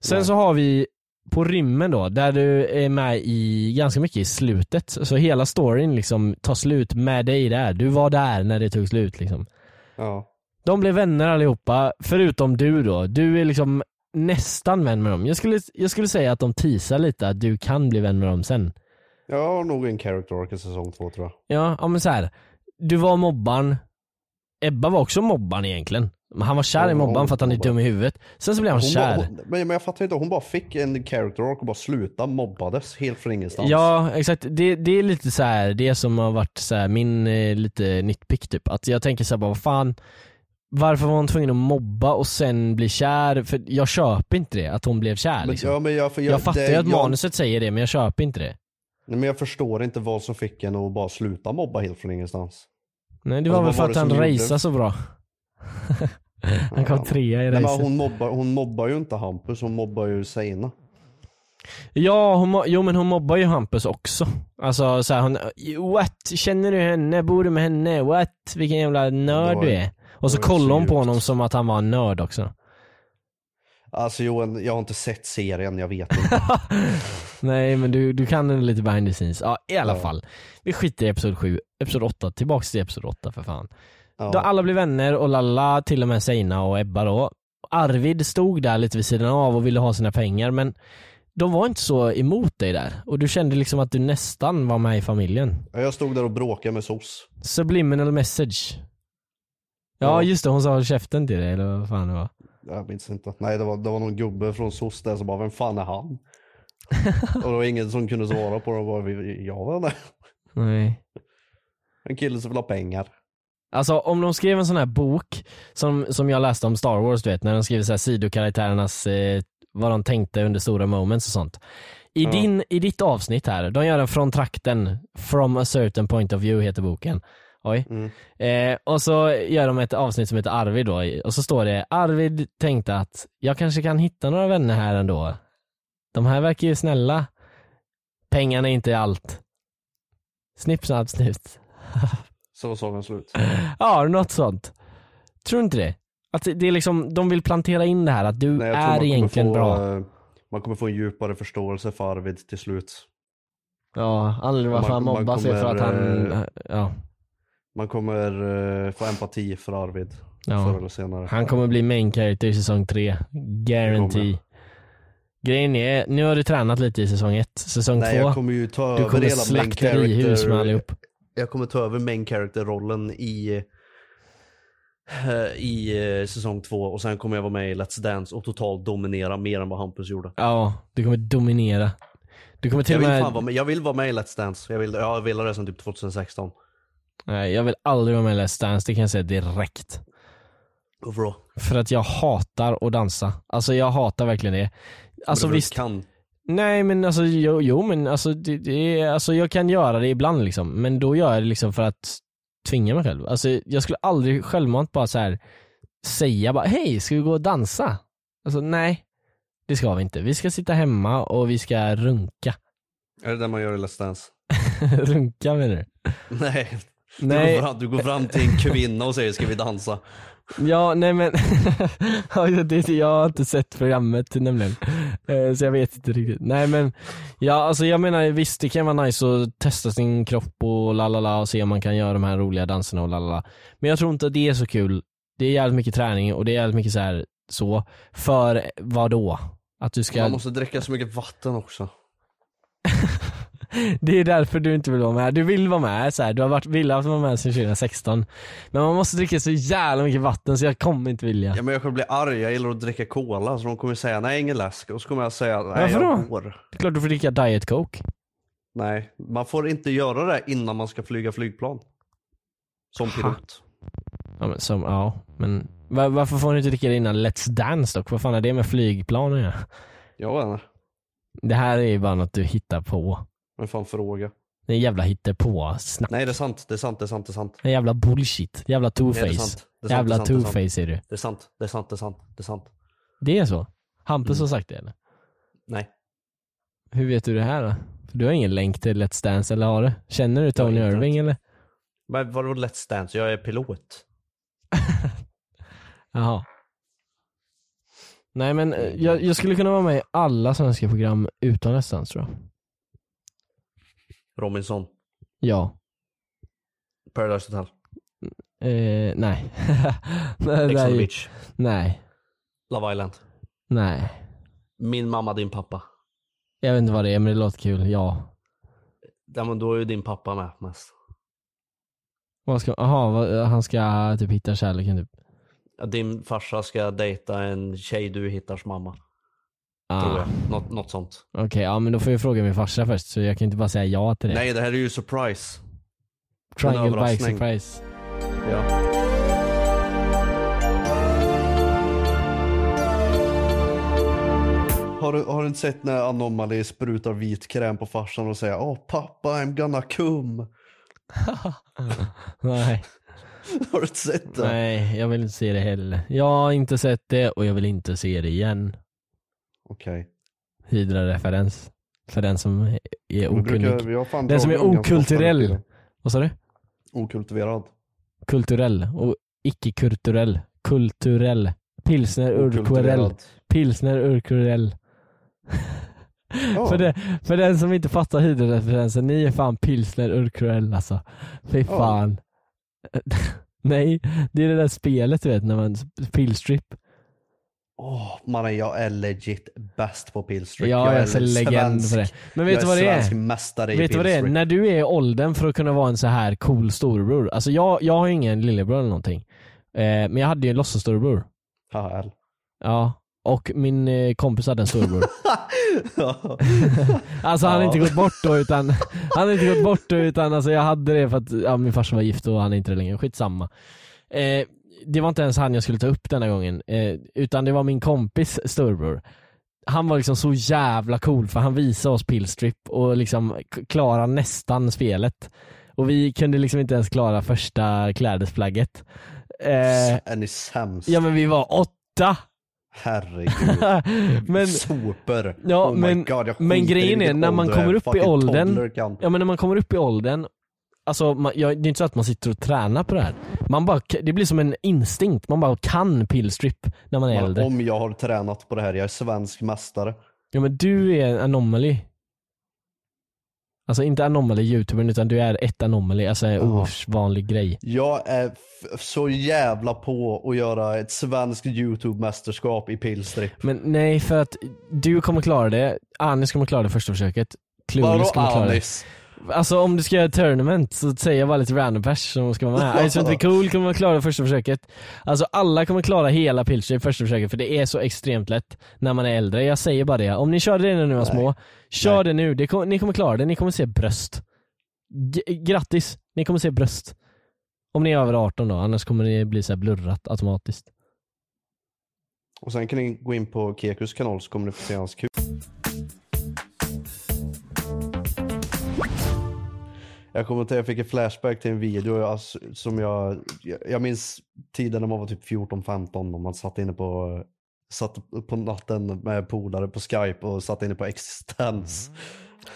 Speaker 1: Sen
Speaker 2: Nej.
Speaker 1: så har vi på rymmen då, där du är med i ganska mycket i slutet. Så hela storyn liksom tar slut med dig där. Du var där när det tog slut liksom.
Speaker 2: Ja.
Speaker 1: De blev vänner allihopa, förutom du då. Du är liksom nästan vän med dem. Jag skulle, jag skulle säga att de teasar lite att du kan bli vän med dem sen.
Speaker 2: Jag har nog en character arc i säsong två tror jag.
Speaker 1: Ja, ja men så här. Du var mobbaren. Ebba var också mobbaren egentligen. Men han var kär i
Speaker 2: Hon-
Speaker 1: mobbaren
Speaker 2: hon-
Speaker 1: för att han är dum i huvudet. Sen så blev han
Speaker 2: Hon
Speaker 1: kär.
Speaker 2: Bara, hon, men men jag fattar inte, hon bara fick en character arc och bara slutade mobbades helt från ingenstans.
Speaker 1: Ja exakt, det, det är lite så här, det som har varit så här, min eh, lite nitpick typ. Att jag tänker så här, bara vad fan, varför var hon tvungen att mobba och sen bli kär? För jag köper inte det, att hon blev kär
Speaker 2: men,
Speaker 1: liksom.
Speaker 2: ja, men jag, för
Speaker 1: jag,
Speaker 2: jag,
Speaker 1: fattar
Speaker 2: det-
Speaker 1: ju att
Speaker 2: jag-
Speaker 1: manuset säger det men jag köper inte det.
Speaker 2: Nej, men jag förstår inte vad som fick henne att bara sluta mobba helt från ingenstans.
Speaker 1: Nej det
Speaker 2: Alltså,
Speaker 1: var väl
Speaker 2: vad
Speaker 1: för
Speaker 2: var
Speaker 1: att
Speaker 2: det
Speaker 1: han
Speaker 2: som gjorde?
Speaker 1: raceade så bra. han kom trea i
Speaker 2: Nej, men
Speaker 1: racet.
Speaker 2: hon, mobbar, hon mobbar ju inte Hampus, hon mobbar ju Seina.
Speaker 1: Ja, hon, mo- jo men hon mobbar ju Hampus också. Alltså så här, hon, what? Känner du henne? Bor du med henne? What? Vilken jävla nörd
Speaker 2: var-
Speaker 1: du är. Och så
Speaker 2: det var ju
Speaker 1: kollar hon
Speaker 2: så
Speaker 1: på
Speaker 2: djupt.
Speaker 1: honom som att han var en nörd också.
Speaker 2: Alltså Johan, jag har inte sett serien, jag vet inte.
Speaker 1: Nej men du, du kan den lite behind the scenes. Ja i alla
Speaker 2: Ja.
Speaker 1: fall. Vi skiter i episod 7, episod 8, tillbaks till episod 8 för fan.
Speaker 2: Ja.
Speaker 1: Då alla blir vänner och lalla, till och med Seina och Ebba då. Arvid stod där lite vid sidan av och ville ha sina pengar men de var inte så emot dig där. Och du kände liksom att du nästan var med i familjen.
Speaker 2: Ja, Jag stod där och bråkade med SOS.
Speaker 1: Subliminal message. Ja,
Speaker 2: Ja.
Speaker 1: just det, hon sa käften till dig eller vad fan det var.
Speaker 2: Jag minns inte. Nej, det var, det var någon gubbe från SOS där som bara, vem fan är han? och det var ingen som kunde svara på det. Och bara, "Vi- jag var där.
Speaker 1: Nej.
Speaker 2: En kille som vill ha pengar.
Speaker 1: Alltså om de skrev en sån här bok som, som jag läste om Star Wars du vet när de skriver så här sidokaraktärernas eh, vad de tänkte under stora moments och sånt. I,
Speaker 2: Ja.
Speaker 1: din, I ditt avsnitt här, de gör en från trakten, from a certain point of view heter boken. Oj.
Speaker 2: Mm.
Speaker 1: Eh, och så gör de ett avsnitt som heter Arvid då och så står det Arvid tänkte att jag kanske kan hitta några vänner här ändå. De här verkar ju snälla. Pengarna är inte allt. Snipp snapp snut.
Speaker 2: Så var sången slut.
Speaker 1: Äh, Ja, något sånt. Tror du inte det? Att det det är liksom, de vill plantera in det här att du
Speaker 2: Nej, jag tror man
Speaker 1: är
Speaker 2: kommer
Speaker 1: egentligen
Speaker 2: få,
Speaker 1: bra.
Speaker 2: eh, Man kommer få en djupare förståelse för Arvid till slut.
Speaker 1: Ja, anledningen varför
Speaker 2: man-
Speaker 1: han
Speaker 2: man
Speaker 1: mobbas är för att han,
Speaker 2: kommer, eh,
Speaker 1: ja,
Speaker 2: Man kommer eh, få empati för Arvid
Speaker 1: Ja.
Speaker 2: förr eller senare.
Speaker 1: han kommer bli main character i säsong tre. Guarantee.
Speaker 2: Kommer.
Speaker 1: Grejen är, nu har du tränat lite i säsong ett. Säsong
Speaker 2: Nej,
Speaker 1: två,
Speaker 2: jag kommer ju ta
Speaker 1: du
Speaker 2: över
Speaker 1: kommer
Speaker 2: hela main
Speaker 1: slakterihus
Speaker 2: character-
Speaker 1: med allihop.
Speaker 2: Jag kommer ta över main character-rollen i, eh, i eh, säsong två och sen kommer jag vara med i Let's Dance och totalt dominera mer än vad Hampus gjorde.
Speaker 1: Ja, du kommer dominera. Du kommer till
Speaker 2: Jag
Speaker 1: och
Speaker 2: vill,
Speaker 1: med,
Speaker 2: fan vara med, jag vill vara med i Let's Dance. Jag vill, jag har velat det sedan typ 2016.
Speaker 1: nej jag vill aldrig vara med i Let's Dance, det kan jag säga direkt.
Speaker 2: Varför då?
Speaker 1: För att jag hatar att dansa. Alltså jag hatar verkligen det. Alltså
Speaker 2: Varför du
Speaker 1: visst,
Speaker 2: Kan.
Speaker 1: Nej men alltså jo, jo men alltså, det, det är, alltså jag kan göra det ibland liksom men då gör jag det liksom för att tvinga mig själv. Alltså jag skulle aldrig självmant bara så här säga bara hej ska vi gå och dansa? Alltså nej det ska vi inte. Vi ska sitta hemma och vi ska runka.
Speaker 2: Är det det man gör i Let's Dance?
Speaker 1: runka menar du?
Speaker 2: Nej. Du,
Speaker 1: Nej.
Speaker 2: går fram, du går fram till en kvinna och säger ska vi dansa?
Speaker 1: Ja, nej men Ja, det- jag har inte sett programmet nämligen. Eh, Så jag vet inte riktigt. Nej men, ja alltså jag menar visst det kan vara nice att testa sin kropp och lalala och se om man kan göra de här roliga danserna och lalala. Men jag tror inte att det är så kul. Det är jävligt mycket träning och det är jävligt mycket så här så. För vad då? Att du ska,
Speaker 2: Man måste dricka så mycket vatten också.
Speaker 1: det är därför du inte vill vara med. Du vill vara med så här. du har varit, velat vara med sedan 2016. Men man måste dricka så jävla mycket vatten så jag kommer inte vilja.
Speaker 2: Ja, men jag kommer bli arg, jag gillar att dricka cola så de kommer säga nej ingen läsk och så kommer jag säga nej
Speaker 1: Varför
Speaker 2: jag
Speaker 1: då?
Speaker 2: går.
Speaker 1: Det är klart du får dricka diet coke.
Speaker 2: Nej, man får inte göra det innan man ska flyga flygplan. Som pilot.
Speaker 1: Ja men, som, ja, men va- varför får ni inte dricka det innan Let's Dance dock? Vad fan är det med flygplan att göra?
Speaker 2: Jag vet inte.
Speaker 1: Det här är ju bara något du hittar på.
Speaker 2: Men fan fråga.
Speaker 1: Det är jävla hittepå snack.
Speaker 2: Nej det är sant, det är sant, det är sant, det är sant.
Speaker 1: Det är jävla bullshit. Jävla
Speaker 2: Nej, det är
Speaker 1: two-face.
Speaker 2: sant. Det är sant,
Speaker 1: Jävla
Speaker 2: det är sant, det är sant.
Speaker 1: two-face är du.
Speaker 2: Det är sant, det är sant, det är sant, det är sant.
Speaker 1: Det är så? Hampus
Speaker 2: Mm.
Speaker 1: har sagt det eller?
Speaker 2: Nej.
Speaker 1: Hur vet du det här då? För du har ingen länk till Let's Dance eller har du? Känner du Tony
Speaker 2: inte.
Speaker 1: Irving eller?
Speaker 2: Men vadå Let's Dance? Jag är pilot.
Speaker 1: Jaha. Nej men eh, jag, jag skulle kunna vara med i alla svenska program utan Let's Dance tror jag.
Speaker 2: Robinson.
Speaker 1: Ja.
Speaker 2: Paradise Hotel.
Speaker 1: Eh, nej. nej,
Speaker 2: Ex on the
Speaker 1: nej.
Speaker 2: Beach.
Speaker 1: nej.
Speaker 2: Love Island.
Speaker 1: Nej.
Speaker 2: Min mamma, din pappa.
Speaker 1: Jag vet inte vad det är men det låter kul, ja.
Speaker 2: Ja, men då är ju din pappa med mest.
Speaker 1: Vad ska, aha, vad, han ska typ hitta kärleken typ.
Speaker 2: Ja, Din farsa ska dejta en tjej du hittar som mamma. Tror
Speaker 1: Ah,
Speaker 2: jag. Något, något sånt.
Speaker 1: Okej, ja men då får jag fråga min farsa först så jag kan inte bara säga ja till det.
Speaker 2: Nej, det här är ju surprise. en
Speaker 1: Triangle Bike
Speaker 2: överraskning.
Speaker 1: Surprise.
Speaker 2: Ja. Har du, har du inte sett när Anomaly sprutar vit kräm på farsan och säger Åh pappa, I'm gonna come.
Speaker 1: Nej.
Speaker 2: Har du inte sett det?
Speaker 1: Nej, jag vill inte se det heller. Jag har inte sett det och jag vill inte se det igen.
Speaker 2: Okej.
Speaker 1: Hydra-referens. För den som är
Speaker 2: Men brukar-
Speaker 1: okunnig.
Speaker 2: vi har fan
Speaker 1: Den som är
Speaker 2: dragit den ganska ofta nu för
Speaker 1: okulturell.
Speaker 2: tiden.
Speaker 1: Vad sa du?
Speaker 2: Okultiverad.
Speaker 1: Kulturell och icke-kulturell. Kulturell. Pilsner urkurell.
Speaker 2: Okultiverad.
Speaker 1: Pilsner urkurell.
Speaker 2: Ja.
Speaker 1: För, det, för den som inte fattar hydroreferensen, ni är fan pilsner urkurell alltså. Fy fan. Nej, det är det där spelet du vet, när man pilstrip.
Speaker 2: Åh, mannen jag är legit bäst på pillstrick.
Speaker 1: Ja, jag är så
Speaker 2: svensk-
Speaker 1: legend för det. Men vet
Speaker 2: jag
Speaker 1: du vad det är?
Speaker 2: svensk mästare i
Speaker 1: Vet du vad det är?
Speaker 2: pillstrick.
Speaker 1: När du är i åldern för att kunna vara en så här cool storebror. Alltså jag, jag har ju ingen lillebror eller någonting. Eh, men jag hade ju en låtsas storebror.
Speaker 2: Haha, L.
Speaker 1: Ja. Och min eh, kompis hade en storebror.
Speaker 2: Ja.
Speaker 1: Alltså han har
Speaker 2: Ja.
Speaker 1: inte gått bort då utan, han har inte gått bort då utan alltså jag hade det för att ja, min farsa var gift och han är inte det längre, skitsamma. Eh, det var inte ens han jag skulle ta upp denna gången, eh, utan det var min kompis storebror. Han var liksom så jävla cool för han visade oss pillstrip och liksom k- klarade nästan spelet. Och vi kunde liksom inte ens klara första klädesplagget. Eh,
Speaker 2: Är ni sämst?
Speaker 1: ja men vi var åtta!
Speaker 2: Herregud.
Speaker 1: men,
Speaker 2: Sopor.
Speaker 1: Ja,
Speaker 2: oh
Speaker 1: men-
Speaker 2: my God, jag
Speaker 1: men
Speaker 2: skiter i
Speaker 1: grejen är,
Speaker 2: vilken
Speaker 1: när man
Speaker 2: ålder en
Speaker 1: kommer upp i
Speaker 2: fucking
Speaker 1: åldern-
Speaker 2: toddler Kan.
Speaker 1: Ja men när man kommer upp i åldern, alltså man, ja, det är inte så att man sitter och tränar på det här. Man bara, det blir som en instinkt, man bara kan pillstrip när man är
Speaker 2: Man,
Speaker 1: äldre.
Speaker 2: om jag har tränat på det här, jag är svensk mästare.
Speaker 1: Ja men du är en anomaly. Alltså inte anomaly youtubern utan du är ett anomaly, alltså en
Speaker 2: Ja.
Speaker 1: ovanlig grej.
Speaker 2: Jag är f- så jävla på att göra ett svenskt YouTube-mästerskap i pillstripp.
Speaker 1: Men nej för att du kommer klara det, Anis kommer klara det första försöket. Clueless
Speaker 2: Vadå
Speaker 1: kommer klara det.
Speaker 2: Anis?
Speaker 1: Alltså om du ska göra ett tournament så säger jag bara lite random pers som ska vara med. Ice Hunt Be Cool kommer att klara det första försöket. Alltså alla kommer klara hela Pilcher i första försöket för det är så extremt lätt när man är äldre. Jag säger bara det. Om ni körde det när ni var små, kör
Speaker 2: Nej.
Speaker 1: det nu. Det kom, ni kommer klara det. Ni kommer se bröst. G- grattis, ni kommer se bröst. Om ni är över 18 då, annars kommer det bli så här blurrat automatiskt.
Speaker 2: Och sen kan ni gå in på Kekus kanal så kommer ni få se hans kul. Jag kommer till jag fick en flashback till en video jag, som jag, jag, jag minns tiden när man var typ 14-15 och man satt inne på, satt på natten med polare på skype och satt inne på existens.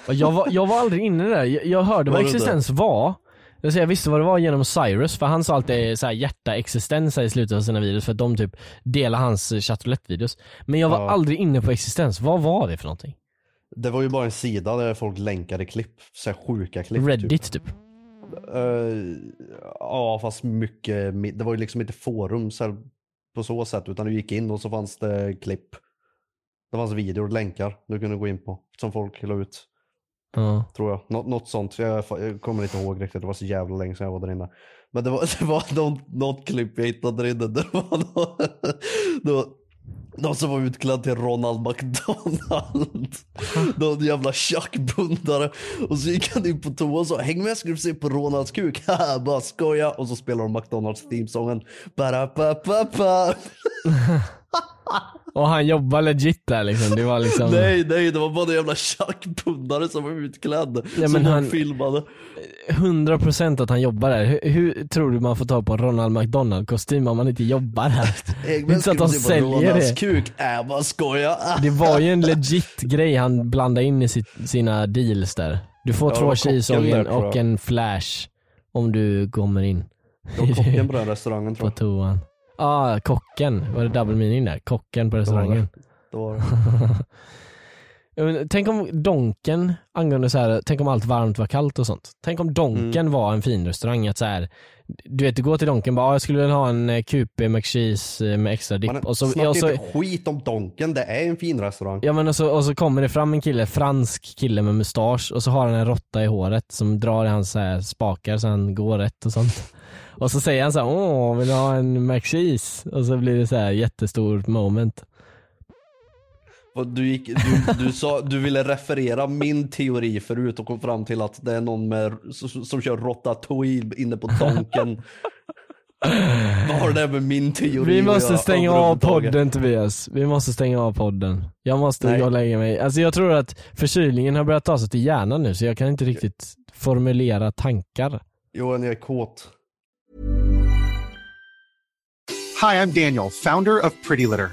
Speaker 1: Och Jag var, jag var aldrig inne där, jag, jag hörde vad
Speaker 2: Var du inte?
Speaker 1: existens var. Jag, säga, jag visste vad det var genom Cyrus, för han sa alltid så här hjärta existens här i slutet av sina videos för att de typ delar hans eh, Chateau Lett videos Men jag var
Speaker 2: Ja.
Speaker 1: aldrig inne på existens, vad var det för någonting?
Speaker 2: Det var ju bara en sida där folk länkade klipp, så här sjuka klipp. Typ.
Speaker 1: Reddit typ?
Speaker 2: Eh, ja, fast mycket. mi- Det var ju liksom inte forum så här, på så sätt, utan du gick in och så fanns det klipp. Det fanns videor och länkar du kunde gå in på, som folk la ut,
Speaker 1: Ja.
Speaker 2: tror jag. Nå- något sånt. Jag, fa- jag kommer inte ihåg riktigt, det var så jävla länge sedan jag var där inne. Men det var, det var någon, något klipp jag hittade där inne, där det var någon, det var någon som var utklädd till Ronald McDonald. Någon jävla tjackbundare. Och så gick han in på toa och sa häng med ska du få se på Ronalds kuk. Haha, Bara skoja. Och så spelar de McDonalds themesången. Ba-da-ba-ba-ba.
Speaker 1: Och han jobbar legit där liksom, det var liksom
Speaker 2: Nej, nej, det var bara en jävla tjackbundare som var utklädd.
Speaker 1: men
Speaker 2: som
Speaker 1: han-
Speaker 2: han... filmade.
Speaker 1: 100% att han jobbar där. Hur, hur tror du man får tag på en Ronald McDonald kostym om man inte jobbar där? Det är
Speaker 2: Häng med
Speaker 1: inte så
Speaker 2: ska
Speaker 1: att
Speaker 2: du få
Speaker 1: de
Speaker 2: se på
Speaker 1: säljer
Speaker 2: Ronalds
Speaker 1: det.
Speaker 2: kuk. Äh, bara skoja.
Speaker 1: Det var ju en legit grej han blandade in i sitt, sina deals där. Du får
Speaker 2: Ja, det
Speaker 1: två
Speaker 2: var
Speaker 1: cheeseången
Speaker 2: kocken där, tror jag.
Speaker 1: och en flash om du kommer in
Speaker 2: Det var kocken på den restaurangen tror
Speaker 1: på
Speaker 2: jag.
Speaker 1: toan. Ja, ah, kocken. Var det double meaning där? Kocken på
Speaker 2: Det var
Speaker 1: restaurangen.
Speaker 2: det. Det var det.
Speaker 1: Jag menar, Tänk om Donken, angående så här, tänk om allt varmt var kallt och sånt. Tänk om Donken
Speaker 2: Mm.
Speaker 1: var en fin restaurang att så här, du vet du går till Donken och bara, "Ah, jag skulle vilja ha en eh, QP McCheese eh, med extra dipp.
Speaker 2: Man
Speaker 1: Och så,
Speaker 2: snackar
Speaker 1: och så,
Speaker 2: inte skit om Donken, det är en fin restaurang.
Speaker 1: ja, men och, så, och så kommer det fram en kille, fransk kille med mustasch och så har han en råtta i håret som drar i hans så här, spakar så han går rätt och sånt. Och så säger han så här, åh vill du ha en McCheese? Och så blir det så här jättestort moment.
Speaker 2: Och Du, gick, du, du, sa, du ville referera min teori förut och kom fram till att det är någon med, som, som kör Ratatouille inne på Donken. Vad har det med min teori
Speaker 1: Vi
Speaker 2: att
Speaker 1: måste
Speaker 2: göra
Speaker 1: stänga av
Speaker 2: överhuvudtaget?
Speaker 1: podden Tobias. Vi måste stänga av podden. Jag måste
Speaker 2: Nej.
Speaker 1: gå och lägga mig. Alltså jag tror att förkylningen har börjat ta sig till hjärnan nu så jag kan inte riktigt formulera tankar.
Speaker 2: Johan, jag är kåt.
Speaker 4: Hi, I'm Daniel, founder of Pretty Litter.